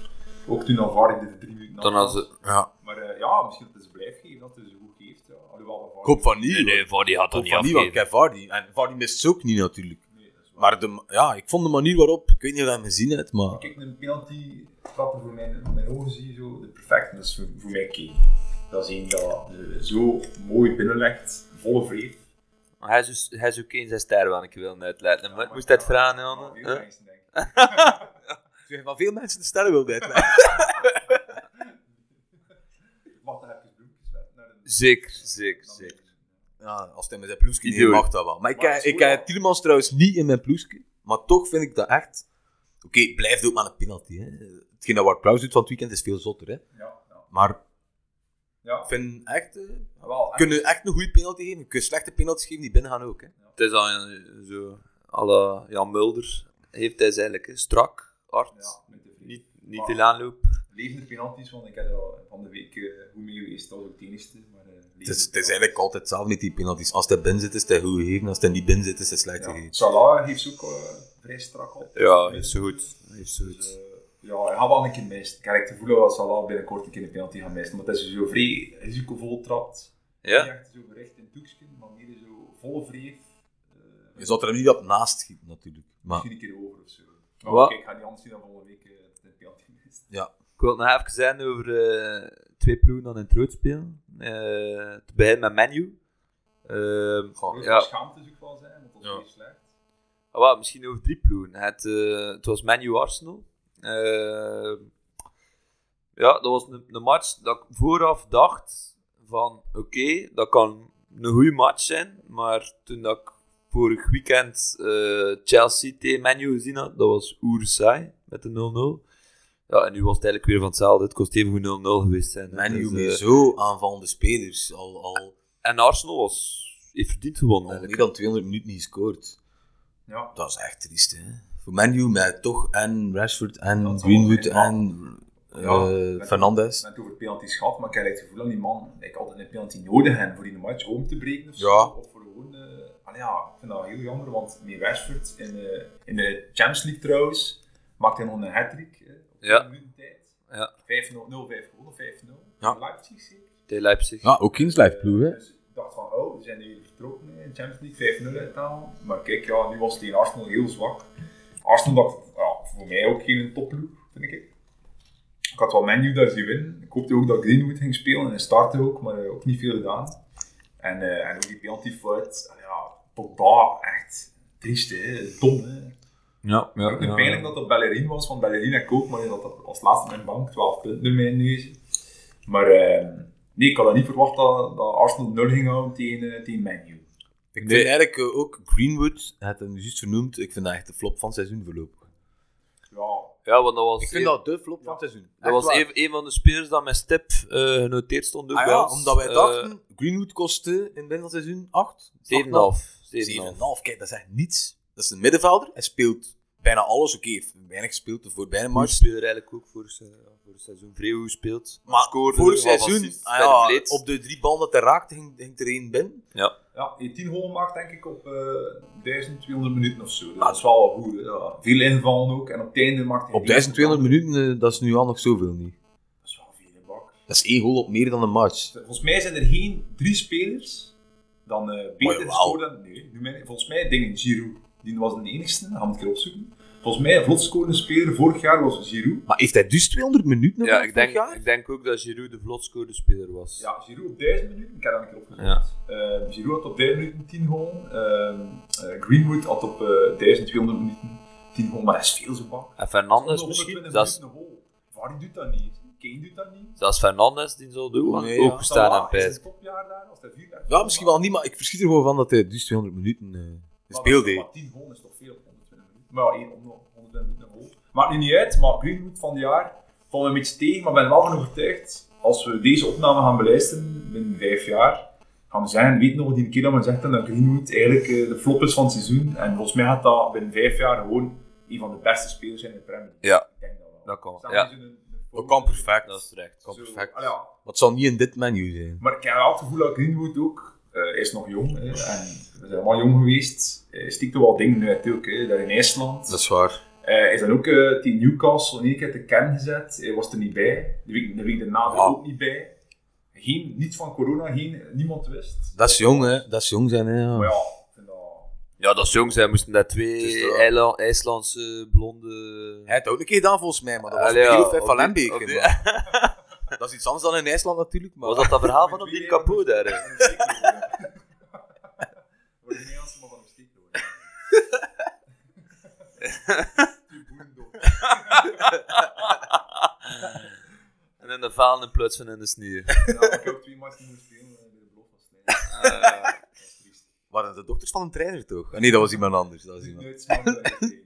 Ook toen Alvaro de drie minuten Dan na als was. ze- Ja. Maar eh, ja, misschien dat het ze blijft geven, dat het ze goed geeft. Ja. Alhoewel dat Ik hoop van niet. Nee, nee, Vardy had hoor. dat Ik niet hoop van niet, want afgegeven. ik heb Vardy. En Vardy mist ook niet natuurlijk. Nee, dat is waar. Maar de, ja, ik vond de manier waarop, ik weet niet of je hem gezien hebt, maar... Kijk, een penalty trappen voor mijn, voor mijn ogen zie, zo, de perfecte, dat is voor, voor mij key. Dat is één dat eh, zo mooi binnenlegt, volle vreef. Hij is dus- Hij is ook geen zijn ster, waar ik wil net leiden. Maar ik moest dat vragen, Jan. Ja, hè? heel nice, denk ik. Ik van veel mensen de sterren wil dit. Mag dat even bloempjes zetten dus naar een... Zeker, zeker, zeker. Ja, als hij met zijn ploesje niet Idioot. mag dat wel. Maar ik, Maar heb- het is ik goed, heb ja. Tielemans trouwens niet in mijn ploesje. Maar toch vind ik dat echt... Oké, het blijft ook maar een penalty. Hè. Hetgeen dat Ward Prowse doet van het weekend is veel zotter. Hè. Ja, ja. Maar ja. ik vind echt... eh, we Wel, echt. kunnen echt een goede penalty geven. Je kunt slechte penalties geven die binnen gaan ook. Hè. Het is al een- zo... à la Jan Mulder heeft hij eigenlijk hè. strak, hard, Ja, met de vreef. niet, niet Maar- veel aanloop. levende penalties, want ik heb er al van de week eh, goed mee geweest, dat was ook de enigste. Maar, Het eh, levende is, het is penalties. eigenlijk altijd hetzelfde met die penalties. Als hij binnen zit, is hij goed gegeven. Als hij niet binnen zit, is hij slecht Ja. gegeven. Salah heeft ze ook eh, vrij strak op. Ja, heeft ze goed. Heeft ze Dus, goed. eh, ja, hij gaat wel een keer mist. Ik heb het gevoel dat Salah binnenkort een keer een penalty gaat misten, want dat is zo vrij risicovol trapt. Ja? Niet echt zo recht in het doekje, maar meer zo vol vreef. eh, Je zou er hem niet op naast schieten, natuurlijk. Maar misschien een keer over of zo. Wat? Maar kijk, ik ga niet anders zien dan volgende week eh, dat hij een penalty mist. Ik wil het nog even zijn over eh, twee ploegen dan in het rood spelen. Eh, te beginnen met Menu. Goh, Grote ja. schaamte zou ik wel zijn, want dat is Ja. niet slecht. Ah, wel, misschien over drie ploegen. Het, eh, het was Man U Arsenal. Eh, Ja, dat was een, een match dat ik vooraf dacht van oké, dat kan een goede match zijn. Maar toen dat ik vorig weekend eh, Chelsea tegen Menu gezien had, dat was oerzaai met de 0-0. Ja, en nu was het eigenlijk weer van hetzelfde. Het kost even goed 0-0 geweest zijn. hè. Man U Dus, met eh, zo aanvallende spelers. Al, al, en Arsenal was, heeft verdiend gewonnen al meer eigenlijk. dan 200 minuten niet gescoord. Ja. Dat is echt triest, hè. Voor Man U met toch en Rashford en Dat zal Greenwood wel zijn, en Ja, eh, met- Fernandes. Ik ben het over penalties gehad, maar ik heb echt het gevoel dat die man ik altijd een penalty nodig heeft voor die match om te breken of zo. Ja. Of voor gewoon, eh, maar ja, ik vind dat heel jammer, want met Westford in, eh, in de Champions League trouwens maakt hij nog een hat-trick eh, op Ja. 10 minuten tijd. Ja. 5-0, 0-5 gewonnen, 5-0. Ja. Leipzig zeker. Tegen Leipzig. Ja, ook geen slijfploeg, hè. Dus ik dacht van, oh, we zijn nu vertrokken in de Champions League, 5-0 uithalen. Maar kijk, ja, nu was het tegen Arsenal heel zwak. Arsenal dacht, ja, voor mij ook geen topploeg, vind ik. Ik had wel menu daar zien winnen. Ik hoopte ook dat Greenwood ging spelen en hij startte ook, maar eh, ook niet veel gedaan. En, eh, en ook die penalty fluit, en ja, Pogba, echt triest, hè. dom. Hè. Ja, ja, Ook het pijnlijk dat dat Bellerin was, want Bellerin heb ik ook, maar dat dat als laatste op mijn bank 12 punten in mijn neus. Maar eh, nee, ik had dat niet verwacht dat, dat Arsenal 0 ging houden tegen, eh, tegen Man U. Ik Nee. vind eigenlijk eh, ook Greenwood, hij had hem juist vernoemd, ik vind dat echt de flop van het seizoen voorlopig. Ja, Ja, want dat was, Ik vind een, dat de flop van het seizoen. dat was een, een van de spelers dat met stip eh, genoteerd stond. Ook Ah bij ja, ons. omdat wij Eh, dachten, Greenwood kostte in het begin van het seizoen 8? 7,5. 7,5. 7,5. Kijk, dat is echt niets. Dat is een middenvelder. Hij speelt bijna alles. Oké, hij heeft weinig gespeeld de voorbije Maar match. speelde eigenlijk ook voor, se- voor het seizoen. Vrij goed speelt. Maar Scoorde, vorig wat seizoen, assists, ah bij de ja, blades. op de drie ballen dat hij raakte, ging, ging er één binnen. ja, die 10 goal maakt denk ik op eh 1200 minuten of zo. Dus dat is wel goed. hè. Ja, veel ingevallen ook. En op het einde maakt hij Op geen 1200 goal. minuten, eh, dat is nu al nog zoveel niet. Dat is wel veel, hè, bak. Dat is één goal op meer dan een match. Volgens mij zijn er geen drie spelers dan eh Maar beter jawel. scoren dan... Nee, nu mijn- volgens mij dingen Giroud. Die was de enigste, dat gaan we een keer opzoeken. Volgens mij een vlot scorende speler vorig jaar was Giroud. Maar heeft hij dus 200 minuten Ja, nodig ik denk, vorig jaar? ik denk ook dat Giroud de vlotscorende speler was. Ja, Giroud op 1000 minuten. Ik heb dat een keer opgezocht. Eh, Giroud had op 1000 minuten 10 goal. Greenwood had op eh, 1200 minuten 10 goal. Maar dat is veel zo bak. En Fernandes Zonder misschien? 120 Dat is, minuten een goal. Vardy doet dat niet. Kane doet dat niet. dat is Fernandes die zal doen. want Nee, ook ja. staan Salah aan is pijs. een topjaar daar. Als hij vier jaar Ja, misschien wel niet, maar ik verschiet er gewoon van dat hij dus 200 minuten eh Maar speelde. dat is toch maar 10 goal is toch veel op 120 minuten. Maar ja, één- om- 120 minuten een goal. Maakt nu niet uit. Maar Greenwood van het jaar vond een beetje tegen. Maar ik ben wel van overtuigd. Als we deze opname gaan beluisteren binnen vijf jaar. gaan we zeggen, weet nog die keer dat men zegt dat Greenwood eigenlijk eh, de flop is van het seizoen. En volgens mij gaat dat binnen vijf jaar gewoon een van de beste spelers zijn in de Premier League. Ja. Ik denk dat wel. Dat kan, Staan ja. we zo'n- een- Dat kan perfect. Dat is terecht. kan zo- perfect. ah ja. Maar het zal niet in dit menu zijn. Maar ik heb wel het gevoel dat Greenwood ook, eh, hij is nog jong, hè, en we zijn allemaal jong geweest, eh, stikt er wel dingen uit ook, hè, daar in IJsland. Dat is waar. Eh, Hij is dan ook eh, tegen Newcastle in één keer te kennen gezet, hij was er niet bij, de week, de week daarna er Ja. ook niet bij. Geen, niets van corona, geen, niemand wist. Dat is jong, hè. Dat is jong zijn, hè. Maar ja, ik vind dat... Ja, dat is jong. Zij moesten daar Het is twee toch- eiland, IJslandse blonde... Hij had ook een keer gedaan, volgens mij, maar dat was Allee, op de ja, Hero Vijf op van die- Lembeek. op hè, die- maar. Dat is iets anders dan in IJsland natuurlijk, maar... Was dat dat verhaal van op Met die wie hij kapot was- daar? hè? Voor de Nederlandse man van een stiek hoor. Die boerendorp. En in de vaal in plaats van in de sneeuw. Ja, ik heb twee matchen moeten spelen eh, bij de belofte. Eh, Dat is triest. Waren de dokters van een trainer, toch? Ah, Nee, dat was iemand anders. Dat was Dat is iemand. nooit smaak. Nee,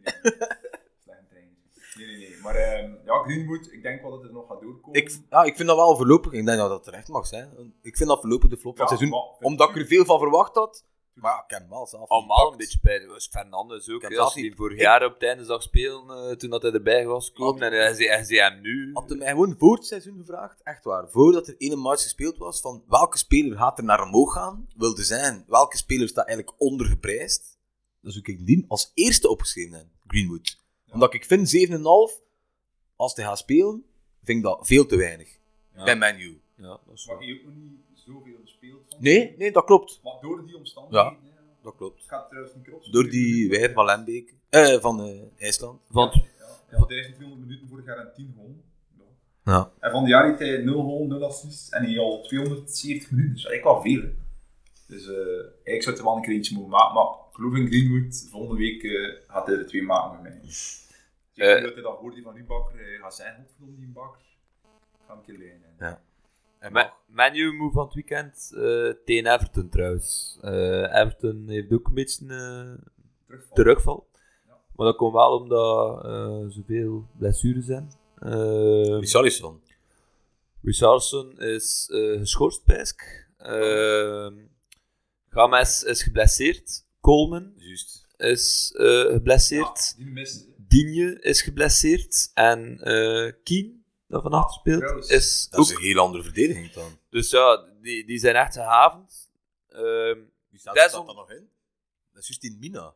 nee, nee, nee. Maar ehm, ja, Greenwood, ik denk wel dat het nog gaat doorkomen. Ik, ja, ik vind dat wel voorlopig, ik denk dat dat terecht mag zijn. Ik vind dat voorlopig de flop van Ja, het seizoen, maar- omdat ik er veel van verwacht had. Maar ja, ik heb hem wel zelf Allemaal een gepakt. beetje spijtig. Dus Fernandes ook. Ik heb hè, zelf Als hij niet- vorig ik- jaar op het einde zag spelen, eh, toen dat hij erbij was komen. Had- En hij zei, hij zei hem nu. Had hij mij gewoon voor het seizoen gevraagd, echt waar, voordat er ene match gespeeld was, van welke speler gaat er naar omhoog gaan, wilde zijn, welke speler staat eigenlijk ondergeprijsd, dan zou ik die als eerste opgeschreven hebben, Greenwood. Omdat ik vind 7,5, als hij gaat spelen, vind ik dat veel te weinig. Ja. Bij Man U. Ja, dat is Maar waar. hij ook nog niet zoveel gespeeld. van. Nee, nee, dat klopt. Maar door die omstandigheden. hè, Dat klopt. Het gaat trouwens niet kloppen. Door die wij van Lembeek, eh, van eh, IJsland. Want Ja, ja, 1200 minuten vorig jaar en 10 goal. Ja. Ja. En van die jaar heeft hij 0 goal, 0 assists en hij al 270 minuten. Dus eigenlijk wel veel. hè. Dus eh eigenlijk zou het er wel een keer eentje moeten maken. Maar ik geloof in Greenwood, volgende week eh, gaat hij er twee maken met mij. Dus Ik Eh. eh, denk dat hij dat hoorde van die bakker. Hij gaat zijn goed om die bakker. Ik Gaan een keer liggen. En Ma- Menu move van het weekend eh, tegen Everton trouwens. Eh, Everton heeft ook een beetje eh, Terugvallen. terugval. Ja. Maar dat komt wel omdat eh zoveel blessures zijn. Eh, Richarlison. Richardson is eh geschorst, Pijsk. Games is geblesseerd. Coleman Juist. is eh, geblesseerd. Ja, Ah, die mist. Digne is geblesseerd. En eh Kien, dat vannacht speelt, Trouwens, is Dat ook... is een heel andere verdediging dan. Dus ja, die, die zijn echt gehavend. Ehm, Wie staat, Daarom- staat daar nog in? Dat is juist in Mina.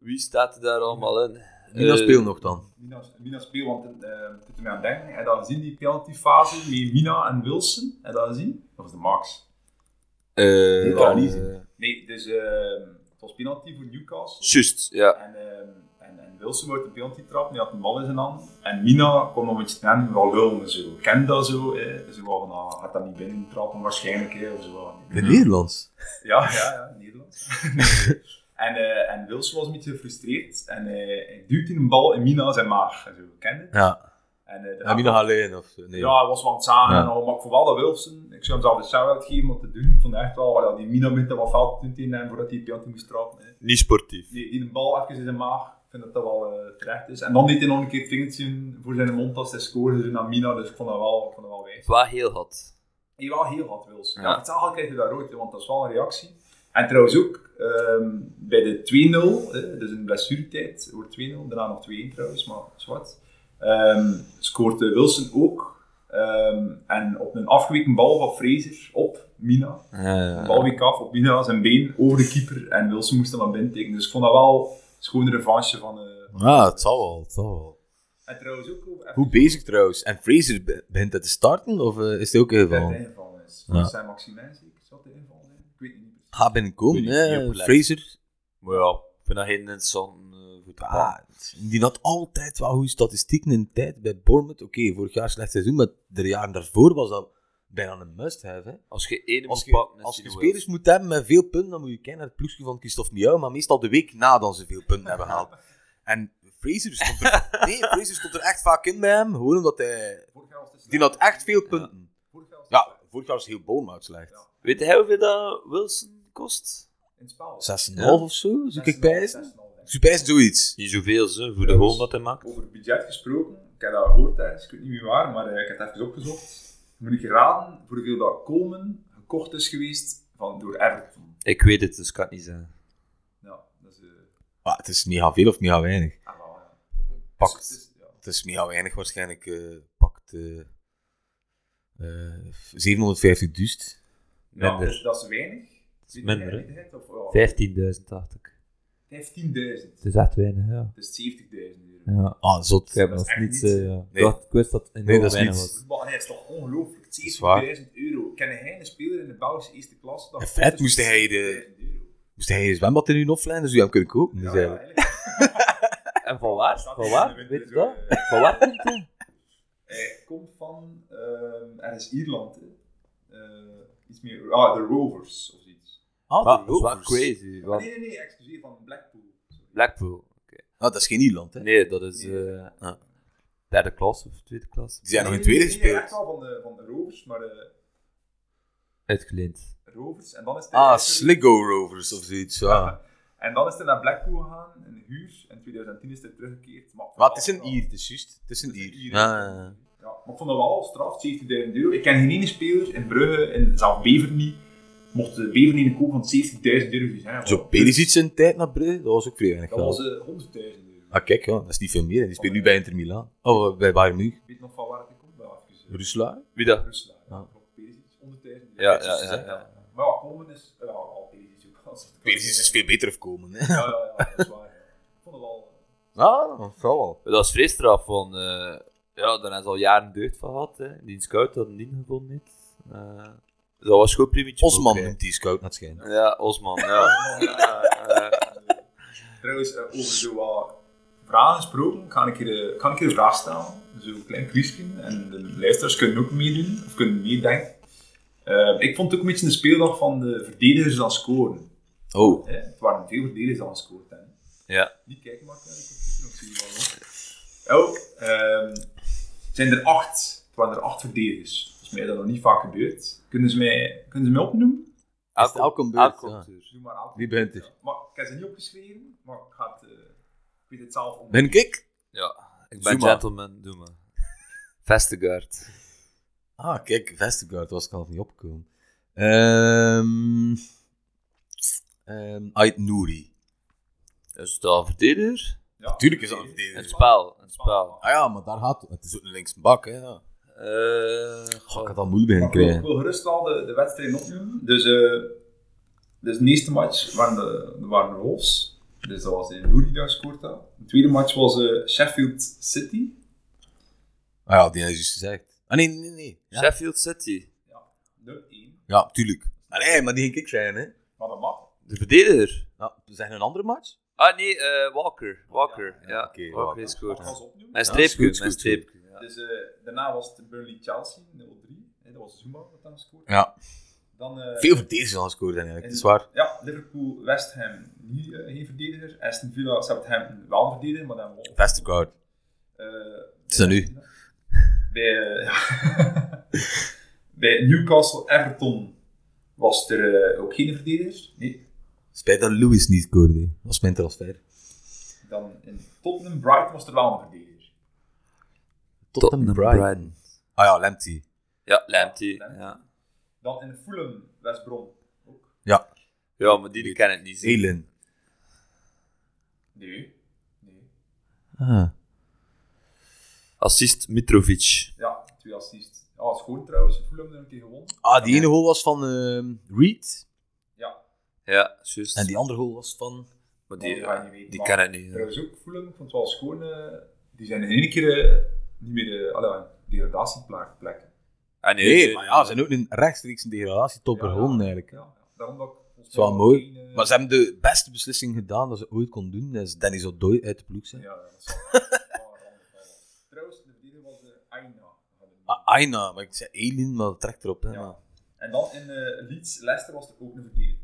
wie staat er daar allemaal in? Mina Eh, speelt nog dan. Mina, Mina speelt, want eh toen we aan denken, heb je dat gezien, die penaltyfase met Mina en Wilson? Heb je dat gezien? Dat was de max. eh, Dit kan eh, niet zien. Nee, dus ehm, het was penalty voor Newcastle. Juist, ja. En, ehm, en, en Wilson wordt de penalty trap, die had een bal in zijn hand. En Mina kwam nog een beetje aan, wel lullen en zo. Ken dat zo, eh, zo van, ah, gaat dat niet binnen trappen waarschijnlijk, eh, of zo. De Nederlands. Ja, ja, ja, Nederlands. en, eh, en Wilson was een beetje gefrustreerd en eh, hij duwt een bal in Mina zijn maag. En zo, ken je? Ja. En, eh, ja. Mina alleen of zo. Nee. Ja, hij was wel aan het zagen Ja. en al, maar ik vond wel dat Wilson, ik zou hem zelf een shout-out geven om te doen. Ik vond echt wel, ja, die Mina met wat fout te doen tegen hem voordat hij penalty moest trappen. hè. Niet sportief. Die, die de bal even in zijn maag, ik vind dat dat wel eh, terecht is. En dan deed hij nog een keer het vingertje voor zijn mond als hij scoorde zo naar Mina, dus ik vond dat wel, ik vond dat wel wijs. Waar heel had. Die wel heel hard wil. Ja. Ja. Ja, totaal krijg je daar rood, hè, want dat is wel een reactie. En trouwens ook, ehm, bij de 2-0, hè, dus in de blessuretijd, wordt 2-0, daarna nog 2-1 trouwens, maar zwart. scoort eh, Wilson ook. Ehm, en op een afgeweken bal van Fraser op Mina. Eh, De bal week Eh. af op Mina, zijn been over de keeper. En Wilson moest hem dan binnen tikken. Dus ik vond dat wel een schone revanche van... eh, Ja, het zal wel. Het zal wel. En trouwens ook... over- Goed bezig trouwens. En Fraser be- begint dat te starten of eh, is hij ook Dat even? het inval is. Ja. Zijn Maximijn zeker? Zal het inval zijn? Ik weet het niet. Ga binnenkomen, Weet ik niet hè? op let. eh, Fraser. Maar ja, ik vind dat geen interessant eh, voetbal. Ah, die had altijd wel goede statistieken in de tijd bij Bournemouth. Oké, vorig jaar slecht seizoen, maar de jaren daarvoor was dat bijna een must-have. hè. Als je één Als moet je, pakken, is als het je wel. spelers moet hebben met veel punten, dan moet je kijken naar het ploegje van Christophe Miau, maar meestal de week nadat ze veel punten hebben gehaald. En Fraser stond er, nee, Fraser stond er echt vaak in bij hem, gewoon omdat hij... Vorig jaar was het Die had echt veel punten. Vorig jaar was het Ja, vorig jaar was heel Bournemouth slecht. Ja. Weet jij hoeveel dat Wilson kost? in het spel. 6,5 Ja. of zo, zoek ik bij ze. 6,5, denk ik. Zoek bij ze zoiets. Niet zoveel, ze, voor de Ja, goal dus- dat hij maakt. Over budget gesproken, ik heb dat gehoord tijdens, ik weet niet meer waar, maar eh, ik heb het even opgezocht. Moet ik raden voor hoeveel dat Coleman gekocht is geweest van, door Everton. Ik weet het, dus ik kan het niet zeggen. Ja, dat is... eh Maar het is mega veel of mega weinig. ah, wel, ja. Pakt. Dus het is- ja. Het is mega weinig waarschijnlijk. eh, pakt eh eh 750 duist. Ja, Minder. dus dat is weinig. Weet je minder, hè? het eigenlijk, of wel? 15.000 dacht ik. 15.000. Het is echt weinig, ja. Dat is 70.000 Dus euro. Ja, Ah, zot. ik heb Dat is nog echt niets. niets. eh, ja. Nee. Ik dacht- Ik wist dat het Nee, enorm dat is weinig niets. was. Voetbal, nee, dat is toch ongelooflijk. is waar. 70.000 euro. Ken hij een speler in de Belgische eerste klasse? dat En kocht vet is moest voor hij de- 70.000 euro? Moest hij een zwembad in hun offline, dus u hem kunnen kopen. Dus Ja, eigenlijk. ja, En van waar? Staat Van hij waar? in de Weet je winter dat? zo, Van waar komt hij? eh, Hij komt van ehm ergens Ierland. hè. Eh, iets meer. Ah, de Rovers of iets. Ah, de Maar dat is wel Rovers. crazy. Ah, Want nee, nee, nee, excuseer, van Blackpool. Sorry. Blackpool. oké. Ah, dat is geen Ierland, hè? Nee, dat is Nee. eh, ah, derde klas of tweede klas. Die zijn nog Nee, in tweede nee, nee, nee, gespeeld. echt wel van de, van de Rovers, maar eh Uitgeleend. Rovers. En dan is hij ah, eigenlijk- Sligo Rovers of zoiets. Ja. Ja. En dan is hij naar Blackpool gegaan, in huur. En in 2010 is hij teruggekeerd. Maar, Maar het is een Ier, het is juist. Het is een Het is een Ier. Ier. Ah, Ja, maar ik vond dat wel straf, 70.000 euro. Ik ken geen ene speler in Brugge, en zelfs Bever niet. Mocht de Bever niet een koop van 70.000 euro zijn. Zo, Perisic zijn tijd naar Brugge, dat was ook vrij weinig. Dat geld. was eh, 100.000 euro. Ah, kijk, ja, dat is niet veel meer. hè. Die speelt nu bij Inter Milan. Oh, eh, bij Bayern München. Ik weet nog van waar het komt, wel even. eh, Rusla. Wie dat? Rusland. Ja. Ja. Perisic, 100.000. Ja, ja, Perisic, ja, hè. ja. Maar ja, Coleman is... Ja, al Perisic ook. als het- Perisic is veel beter afkomen, hè? Ja, ja, ja, dat is waar. ja. Ik vond het wel... eh, Ah, dat zal wel. Dat is vreesstraf van. eh, ja, daar is al jaren deugd van gehad. Hè. Die scout had hem niet gevonden. Niet. Eh, dat was goed primietje. Osman voor noemt die scout naar het schijn. mij. Ja, Osman. Ja. Eh, eh, eh, Trouwens, eh, over zo wat vragen gesproken, kan ik je kan ik je een vraag stellen? Zo'n klein quizje. En de luisteraars kunnen ook meedoen, of kunnen meedenken. Eh, ik vond het ook een beetje een speeldag van de verdedigers aan scoren. Oh, Hè? Het waren veel verdedigers aan scoren. Hè? ja. Niet eh, kijken, maar naar de computer of zie je wel. hoor. Oh, ehm, het zijn er acht waren er acht verdedigers. Volgens mij is dat nog niet vaak gebeurd. Kunnen ze mij, kunnen ze mij opnoemen? Elke, elke beurt. Elk Ja. komt er. Doe maar aan. Wie bent er? Eh, Maar ik heb ze niet opgeschreven, maar ik, ga het, eh, ik weet het zelf om. Ben ik ik? Ja, ik ben Zuma. gentleman, doe maar. Vestergaard. Ah, kijk, Vestergaard was ik al niet opgekomen. Ehm ehm Ait Nouri. Is dat een verdediger? Ja, Tuurlijk is dat een Een verdediger. spel, een spel. Ah ja, maar daar gaat het. Het is ook een linksbak, hè. Ja. Eh, Goh, ik goh. had al moeilijk beginnen Maar ik wil- krijgen. ik wil gerust al de, de wedstrijd opnoemen. Dus, eh dus de eerste match waren de, waren de Wolves. Dus dat was in Nouri die daar gescoord had. De tweede match was eh, Sheffield City. Ah ja, die is juist gezegd. Ah nee, nee, nee. Ja, Sheffield City. Ja, 0-1. ja tuurlijk. Maar nee, maar die ging ik zijn, hè. Maar dat mag. De verdediger. Nou, zijn er een andere match? Ah nee, eh, Walker. Walker, ja. Ja, oké, Walker Walker. is Dat goed. was opnoemen. Mijn Ja, streepje, is goed, mijn is goed, is streepje. ja. Dus, eh, daarna was het Burnley-Chelsea, 0-3. Hè, Dat was Zuma dat dan gescoord had. Ja. Dan, eh, Veel verdedigers al gescoord zijn eigenlijk, en- dat is waar. Ja, Liverpool, West Ham, niet, eh, geen verdediger. Aston Villa, Southampton, wel een verdediger, maar dan wel. Vestergaard. Het is aan u. Bij, eh, bij Newcastle Everton was er eh, ook geen verdediger. Nee. Spijt dat Lewis niet scoorde. Dat was mijn transfer. Dan in Tottenham Brighton was er wel een verdediger. Tottenham Brighton. Ah ja, Lemty. Ja, Lamptey. Lamptey. Ja. Dan in Fulham West Brom ook. ja, maar die, die kan het niet zien. Zelen. Nee. nee. Ah. Assist Mitrovic. Ja, twee assists. Ja, het is gewoon trouwens. Fulham er een keer gewonnen. Ah, die ene goal was van ehm, Reed. Ja, Ja, juist. En die andere goal was van... Maar die die, eh, ga je niet weten, die maar- kan het niet. ja. trouwens ook Fulham. Ik vond het wel schoon. eh, die zijn in één keer eh, niet meer eh allee, degradatieplek. Ah, Nee, maar ja, ze zijn ook een rechtstreeks een degradatietopper Ja, ja. gewonnen eigenlijk. Ja, ja. Daarom dat ik Dat is wel mooi. eh, Maar ze hebben de beste beslissing gedaan dat ze ooit kon doen. Dat is Dennis Odoi uit de ploeg zijn. Ja, ja, dat zal wel. Dat zal wel een ander geval. Trouwens, de verdediger was eh, Aina. Ah, Aina, maar ik zei Elin, maar dat trekt erop. Hè, Ja. maar- En dan in eh Leeds, Leicester was er ook een verdediger.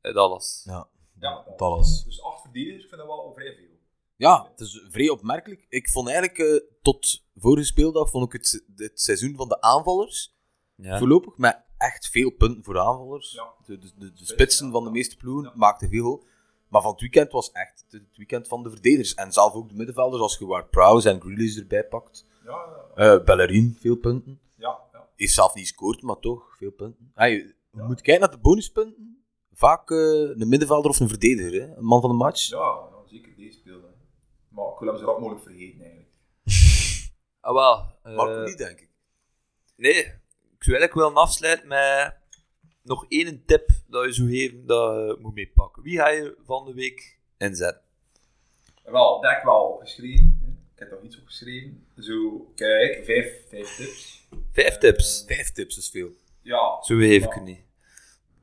Uit alles. Ja. Ja, dat was. Dus acht verdedigers, ik vind dat wel vrij veel. Ja, het is vrij opmerkelijk. Ik vond eigenlijk eh, tot vorige speeldag vond ik het, se- het seizoen van de aanvallers Ja. voorlopig met echt veel punten voor de aanvallers. Ja. De, de, de, de spitsen ja. van de meeste ploegen Ja. maakten veel goal. Maar van het weekend was echt het het weekend van de verdedigers. En zelf ook de middenvelders, als je waar Prowse en Grealish erbij pakt. Ja, ja, Eh Bellerin, veel punten. ja. ja. Heeft zelf niet gescoord, maar toch veel punten. Ah, je je Ja. moet kijken naar de bonuspunten. Vaak eh, een middenvelder of een verdediger, hè? een man van de match. ja, ja, zeker deze speelde. Maar ik wil hem zo rap mogelijk vergeten eigenlijk. Ah, wel. eh, Marco niet, denk ik. nee, ik zou eigenlijk willen afsluiten met nog één tip dat je zou geven dat je moet meepakken. Wie ga je van de week inzetten? Wel, dat heb ik wel opgeschreven. hè. Ik heb nog iets opgeschreven. Zo, kijk, vijf, vijf tips. Vijf tips. Vijf tips is veel. Ja, Zo even Ja. niet.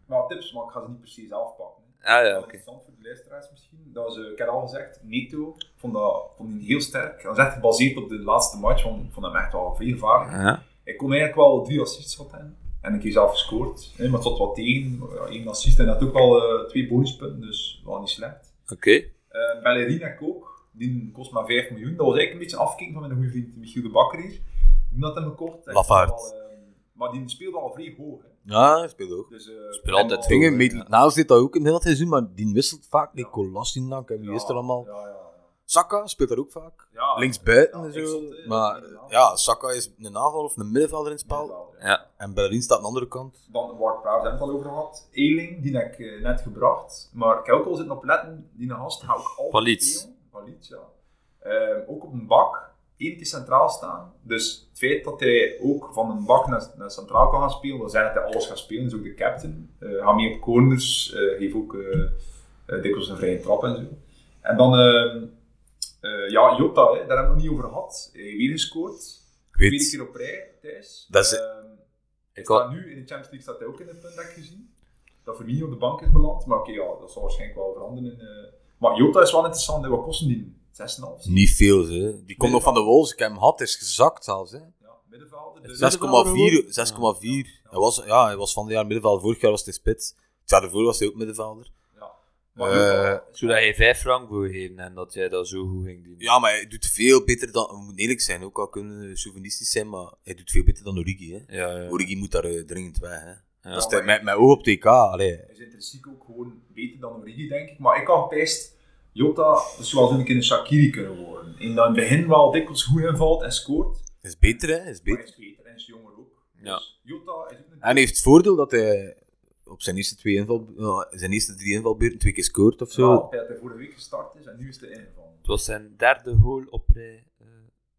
wel tips, maar ik ga ze niet precies afpakken. hè. Ah ja, Dat is oké. interessant voor de luisteraars misschien. Dat ze, ik heb al gezegd, Neto ik vond, dat, vond die heel sterk. Dat is echt gebaseerd op de laatste match, want ik vond hem echt wel veel gevaarlijk. Ja. Ik kon eigenlijk wel drie assists van hem. En ik heb zelf gescoord. Hè, maar het zat wat tegen. Ja, één assist en dat ook al eh, twee bonuspunten, dus wel niet slecht. Oké. Eh Ballerina heb ik ook. Die kost maar 5 miljoen. Dat was eigenlijk een beetje afkicken van mijn goede vriend Michiel de Bakker hier. Die had hem gekocht. En ik vond Lafaard. wel, eh, maar die speelde al vrij hoog. Hè. Ja, hij speelt ook. Dus, eh, Speelt altijd en al- hoog. Dingen, met ja. Naast zit dat ook in heel het seizoen, maar die wisselt vaak. Ja. Die Kolasinac en wie is er Ja, allemaal. Ja, ja, ja. Saka speelt daar ook vaak. Ja, Links buiten Ah, ja, en ik zo. zat, eh, maar in de aanval. ja, Saka is een aanval of een middenvelder in het spel. Middenveld, ja. Ja. En Bellerin staat aan de andere kant. Dan Ward Prowse hebben we het al over gehad. Eling, die heb ik eh, net gebracht. Maar ik heb ook al zitten opletten, die gast hou ik altijd Van Leeds. spelen. Van Leeds, ja. Ehm, ook op een bak, één keer centraal staan. Dus het feit dat hij ook van een bak naar, naar centraal kan gaan spelen, wil zeggen dat hij alles gaat spelen. Dus ook de captain. Eh gaat mee op corners, eh geeft ook eh eh, dikwijls een vrije trap en zo. En dan, ehm, eh, ja, Jota, hè, daar hebben we het nog niet over gehad. Hij heeft weer gescoord. Ik weet- Tweede keer op rij, Thijs. Dat is- Ehm, Ik ik had- staat nu in de Champions League staat hij ook in het punt dat ik gezien. Dat Firmino op de bank is beland. Maar oké, ja, dat zal waarschijnlijk wel veranderen. In, eh, Maar Jota is wel interessant. hè. Wat kosten die? 6,5? Niet veel, hè. Die komt nog van de Wolves. Ik heb hem had, is gezakt zelfs. Hè. 6,4. Ja, middenvelder. Dus Zes- Middenvelder 6,4. Hij was, ja, hij was van dit jaar middenvelder. Vorig jaar was hij spits. Het jaar ervoor was hij ook middenvelder. ja. Eh, Zodat je 5 frank wil geven en dat jij dat zo goed ging doen. ja, maar hij doet veel beter dan... We moeten eerlijk zijn, ook al kunnen we chauvinistisch zijn, maar hij doet veel beter dan Origi. Hè. ja, ja. Origi moet daar eh, dringend weg. Hè. Ja. Dat is de- met, met oog op TK. Allee. Hij is intrinsiek ook gewoon beter dan Origi, denk ik. Maar ik kan best Jota zoals een keer een Shakiri kunnen worden. In dat in het begin wel dikwijls goed invalt en scoort. Is beter, hè? Is Maar beter. hij is beter en is jonger ook. Ja. Dus Jota is ook een... En hij heeft het voordeel dat hij op zijn eerste, twee inval, eh, zijn eerste drie invalbeurten twee keer scoort of zo. Terwijl hij vorige week gestart is en nu is de inval. Het was zijn derde goal op rij eh,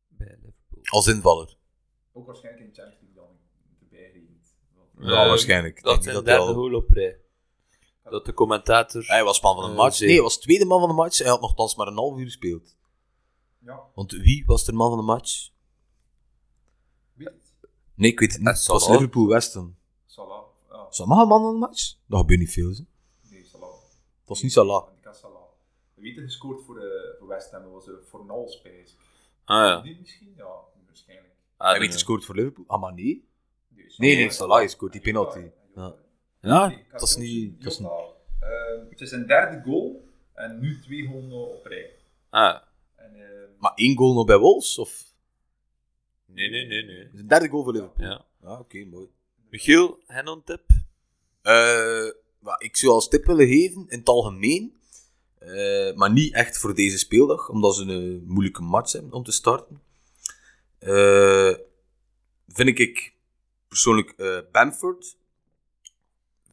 bij Liverpool. Als invaller. Ook waarschijnlijk in de Champions League dan erbij regent. Ja, Eh, waarschijnlijk. Ik Dat denk zijn niet derde hij al- goal op rij. Dat de commentator... Hij was man van de Eh, match. Nee, zeker. hij was tweede man van de match. Hij had nogthans maar een half uur gespeeld. Ja, Want wie was de man van de match? weet het. Nee, ik weet het niet. Eh, Het was Salah. Liverpool Weston. Salah. Ah, Salah man van de match? Dat gebeurt niet veel. Hè. Het nee, Salah. was niet Salah. Ik had Salah. Wie heeft er gescoord voor, eh, voor West Ham? Dat was eh, voor Nol Space. Ah ja. Die misschien? Ja, waarschijnlijk. Ah, Hij weet gescoord voor Liverpool. Ah, maar nee. Die is Nee, Salah. Ah, nee, Salah scoort die penalty. Ja. Ja, dat is niet... Dat is niet. Jota, eh, het is zijn derde goal en nu twee goals op rij. Ah. En, eh, Maar één goal nog bij Wolves? Of Nee, nee, nee, nee. een derde goal voor Liverpool? Ja. Ja, oké, mooi. Michiel, hen een tip? Eh, wat ik zou als tip willen geven, in het algemeen, eh, maar niet echt voor deze speeldag, omdat ze een eh, moeilijke match hebben om te starten, Eh, vind ik persoonlijk eh, Bamford,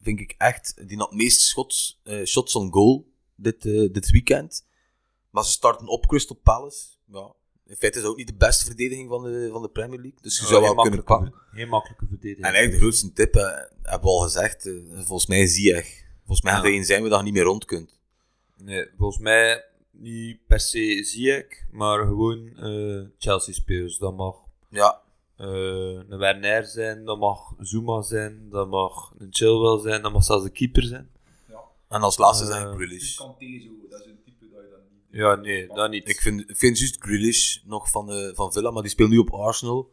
vind ik echt, die had het meest shots, eh, shots on goal dit, eh, dit weekend. Maar ze starten op Crystal Palace. Ja. In feite is dat ook niet de beste verdediging van de, van de Premier League, dus je zou wel kunnen pakken. Heel Oh, makkelijke verdediging. En eigenlijk de grootste tip, eh, hebben we al gezegd, eh, volgens mij is die echt. Volgens mij gaat Ja. er één zijn waar je niet meer rond kunt. Nee, volgens mij niet per se Ziyech, maar gewoon eh, Chelsea-spelers. Dat mag Ja. eh, een Werner zijn, dat mag Zuma zijn, dat mag een Chilwell zijn, dat mag zelfs de keeper zijn. ja, En als laatste Eh, zijn dus Grealish. Kanté zo, dat is een type dat je dan niet... Ja, nee, dat niet. Ik vind, ik vind juist Grealish nog van, eh, van Villa, maar die speelt nu op Arsenal.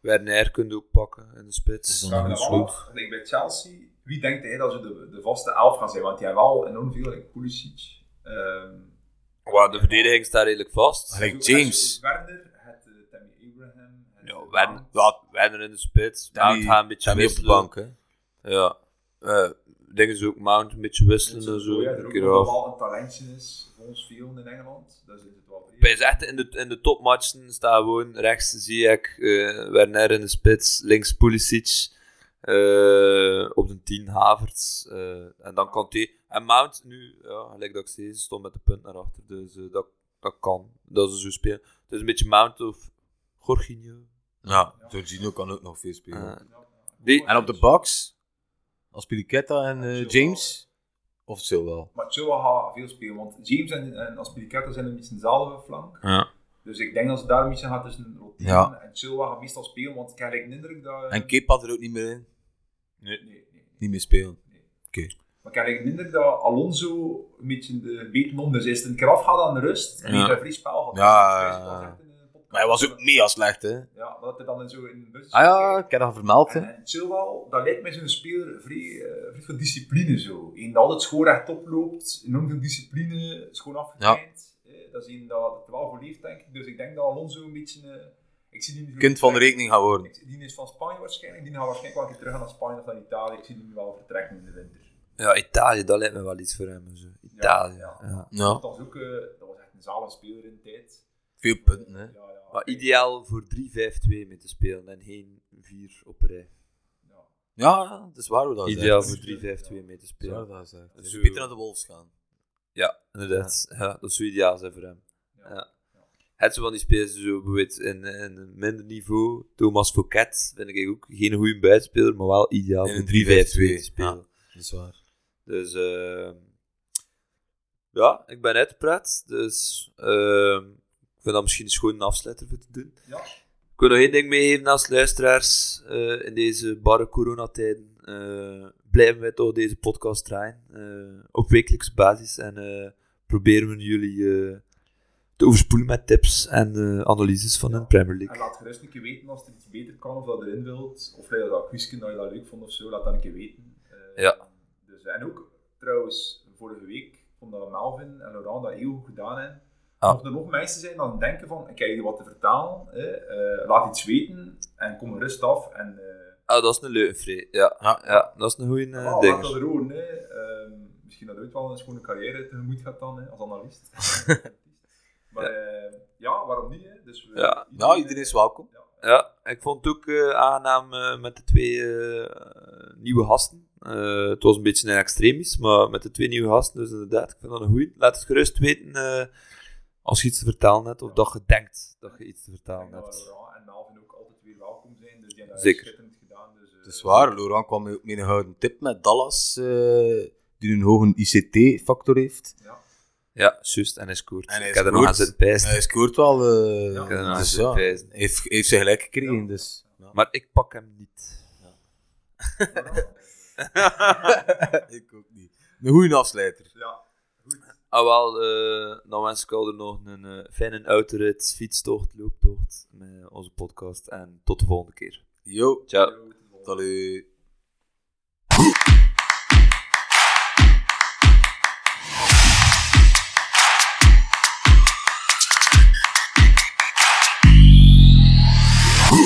Werner kun je ook pakken in de spits. Dat is Vraag me dan dan goed. af, denk bij Chelsea, wie denkt hij dat ze de, de vaste elf gaan zijn? Want die hebben al enorm veel, like Pulisic, ehm, Maar de verdediging staat redelijk vast. Allee. Like zo- James. Werner, het, eh, Tammy Abraham. het- Ja, Werner. Ja, Werner in de spits, Mount gaat een beetje zijn op de wisselen. bank. Hè. Ja. Eh, dingen ze ook Mount een beetje wisselen en zo. Ja, een er ook keer nog af. wel een talentje is, voor ons veel in Engeland. Dat is het wel Bij is echt in de, in de topmatchen staan gewoon rechts Ziyech, eh Werner in de spits, links Pulisic, eh, op de 10 Havertz eh, en dan Kanté. En Mount nu, ja, gelijk dat ik zei, ze stond met de punt naar achter, dus eh, dat, dat kan, dat ze zo spelen. Het is een beetje Mount of Jorginho. Ja, Jorginho kan ook nog veel spelen. Eh, Die, en op de box, als Piliketta en eh, James, of Silwell. Maar Chilwell gaat veel spelen, want James en, en Aspilicueta zijn een beetje dezelfde flank. ja. Dus ik denk dat ze daar een beetje gaan tussen roteren. Ja. En Chilwell gaat meestal spelen, want ik heb eigenlijk de indruk dat... En Kepa er ook niet meer in, Nee, nee, nee. niet meer spelen. Maar ik heb eigenlijk de indruk dat Alonso een beetje de beten onder is. Hij is een keer afgehaald aan de rust en Ja. heeft een vrij spel gehad. Ja, Dus hij is ja, wel ja. echt in de podcast. Maar hij was ook mega slecht, hè. Ja, dat hij dan in zo in de bus Ah ja, ik heb dat vermeld, hè. En, en Chilwell, dat lijkt mij zo'n speler vrij, eh, vrij veel discipline zo. Eén dat altijd schoon rechtop loopt, enorm veel discipline, schoon afgetraind. Eh, dat is één dat het wel voor leeft, denk ik. Dus ik denk dat Alonso een beetje... eh, ik zie die niet zo Kind van de vertrekken. rekening gaan worden. Ik- Die is van Spanje waarschijnlijk. Die gaat waarschijnlijk wel een keer terug gaan naar Spanje of naar Italië. Ik zie die nu wel vertrekken in de winter. ja, Italië, dat lijkt me wel iets voor hem. Zo. Italië, Ja, ja, ja. Ja, Dat was ook eh, dat was echt een zalig speler in de tijd. veel punten, hè. Ja, ja. Maar ideaal voor 3-5-2 mee te spelen en geen 4 op rij. Ja. Ja, dat is waar we dat Ideaal voor zeggen. 3-5-2 mee te Dat is spelen. waar we dat zeggen. Dus Zo. beter naar de Wolves gaan. Ja, inderdaad. Ja. dat zou ideaal zijn voor hem. Ja. Ja. Het zo van die spelers die zo bijvoorbeeld in, eh, in een minder niveau. Thomas Fouquet vind ik ook geen goede buitenspeler, maar wel ideaal In voor een 3-5-2 te 3-5-2, spelen. Dat is waar. Dus eh, ja, ik ben uitgepraat. Dus eh, ik vind dat misschien eens gewoon een afsluiter voor te doen. Ja. Ik wil nog één ding meegeven als luisteraars eh, in deze barre coronatijden. eh blijven wij toch deze podcast draaien eh, op wekelijkse basis en eh, proberen we jullie eh, te overspoelen met tips en eh, analyses van de Premier En League. laat gerust een keer weten als er iets beter kan of dat je erin wilt. Of dat je dat quizje dat je dat leuk vond of zo. Laat dat een keer weten. Eh, Ja. Dus, en ook trouwens, vorige week Omdat Melvin en Laurent dat heel goed gedaan hebben. Ah. Mochten er nog mensen zijn die denken van, ik heb hier wat te vertalen, hè, eh, laat iets weten en kom gerust af. En eh, Ah, dat is een leuke Free. Ja. Ja. Ja. dat is een goede ah, eh laat ding. dat er horen, hè. Ehm, misschien dat ooit wel een schone carrière tegemoet gaat dan, hè, als analist. maar ja. ja, waarom niet? Hè? Dus we, Ja. Nou, iedereen is welkom. Ja. Ja, ik vond het ook eh, aangenaam eh, met de twee eh, nieuwe gasten. Eh, het was een beetje een extremis, maar met de twee nieuwe gasten, dus inderdaad, ik vind dat een goeie. Laat het gerust weten eh, als je iets te vertalen hebt, of dat je denkt dat je iets te En vertalen dat hebt. Laurent en Melvin ook altijd weer welkom zijn, dus die hebben dat Zeker. schitterend gedaan. Dus, eh, Het is waar, Laurent kwam met een gouden tip met Dallas, eh, die een hoge ICT-factor heeft. Ja. Ja, juist, en hij scoort. En hij ik heb er nog scoort. aan zitten pijzen. Hij scoort wel. eh, Ja. Ik heb er nog aan dus zitten ja, pijzen. heeft, heeft ze gelijk gekregen, Ja. dus... Maar ik pak hem niet. Laurent, ik ook niet. Een goede afsluiter. ja, goed. Ah, wel, eh, dan wens ik al nog een eh, fijne autorit, fietstocht, looptocht met onze podcast. En tot de volgende keer. Yo, Ciao. Yo, tot de volgende. salut.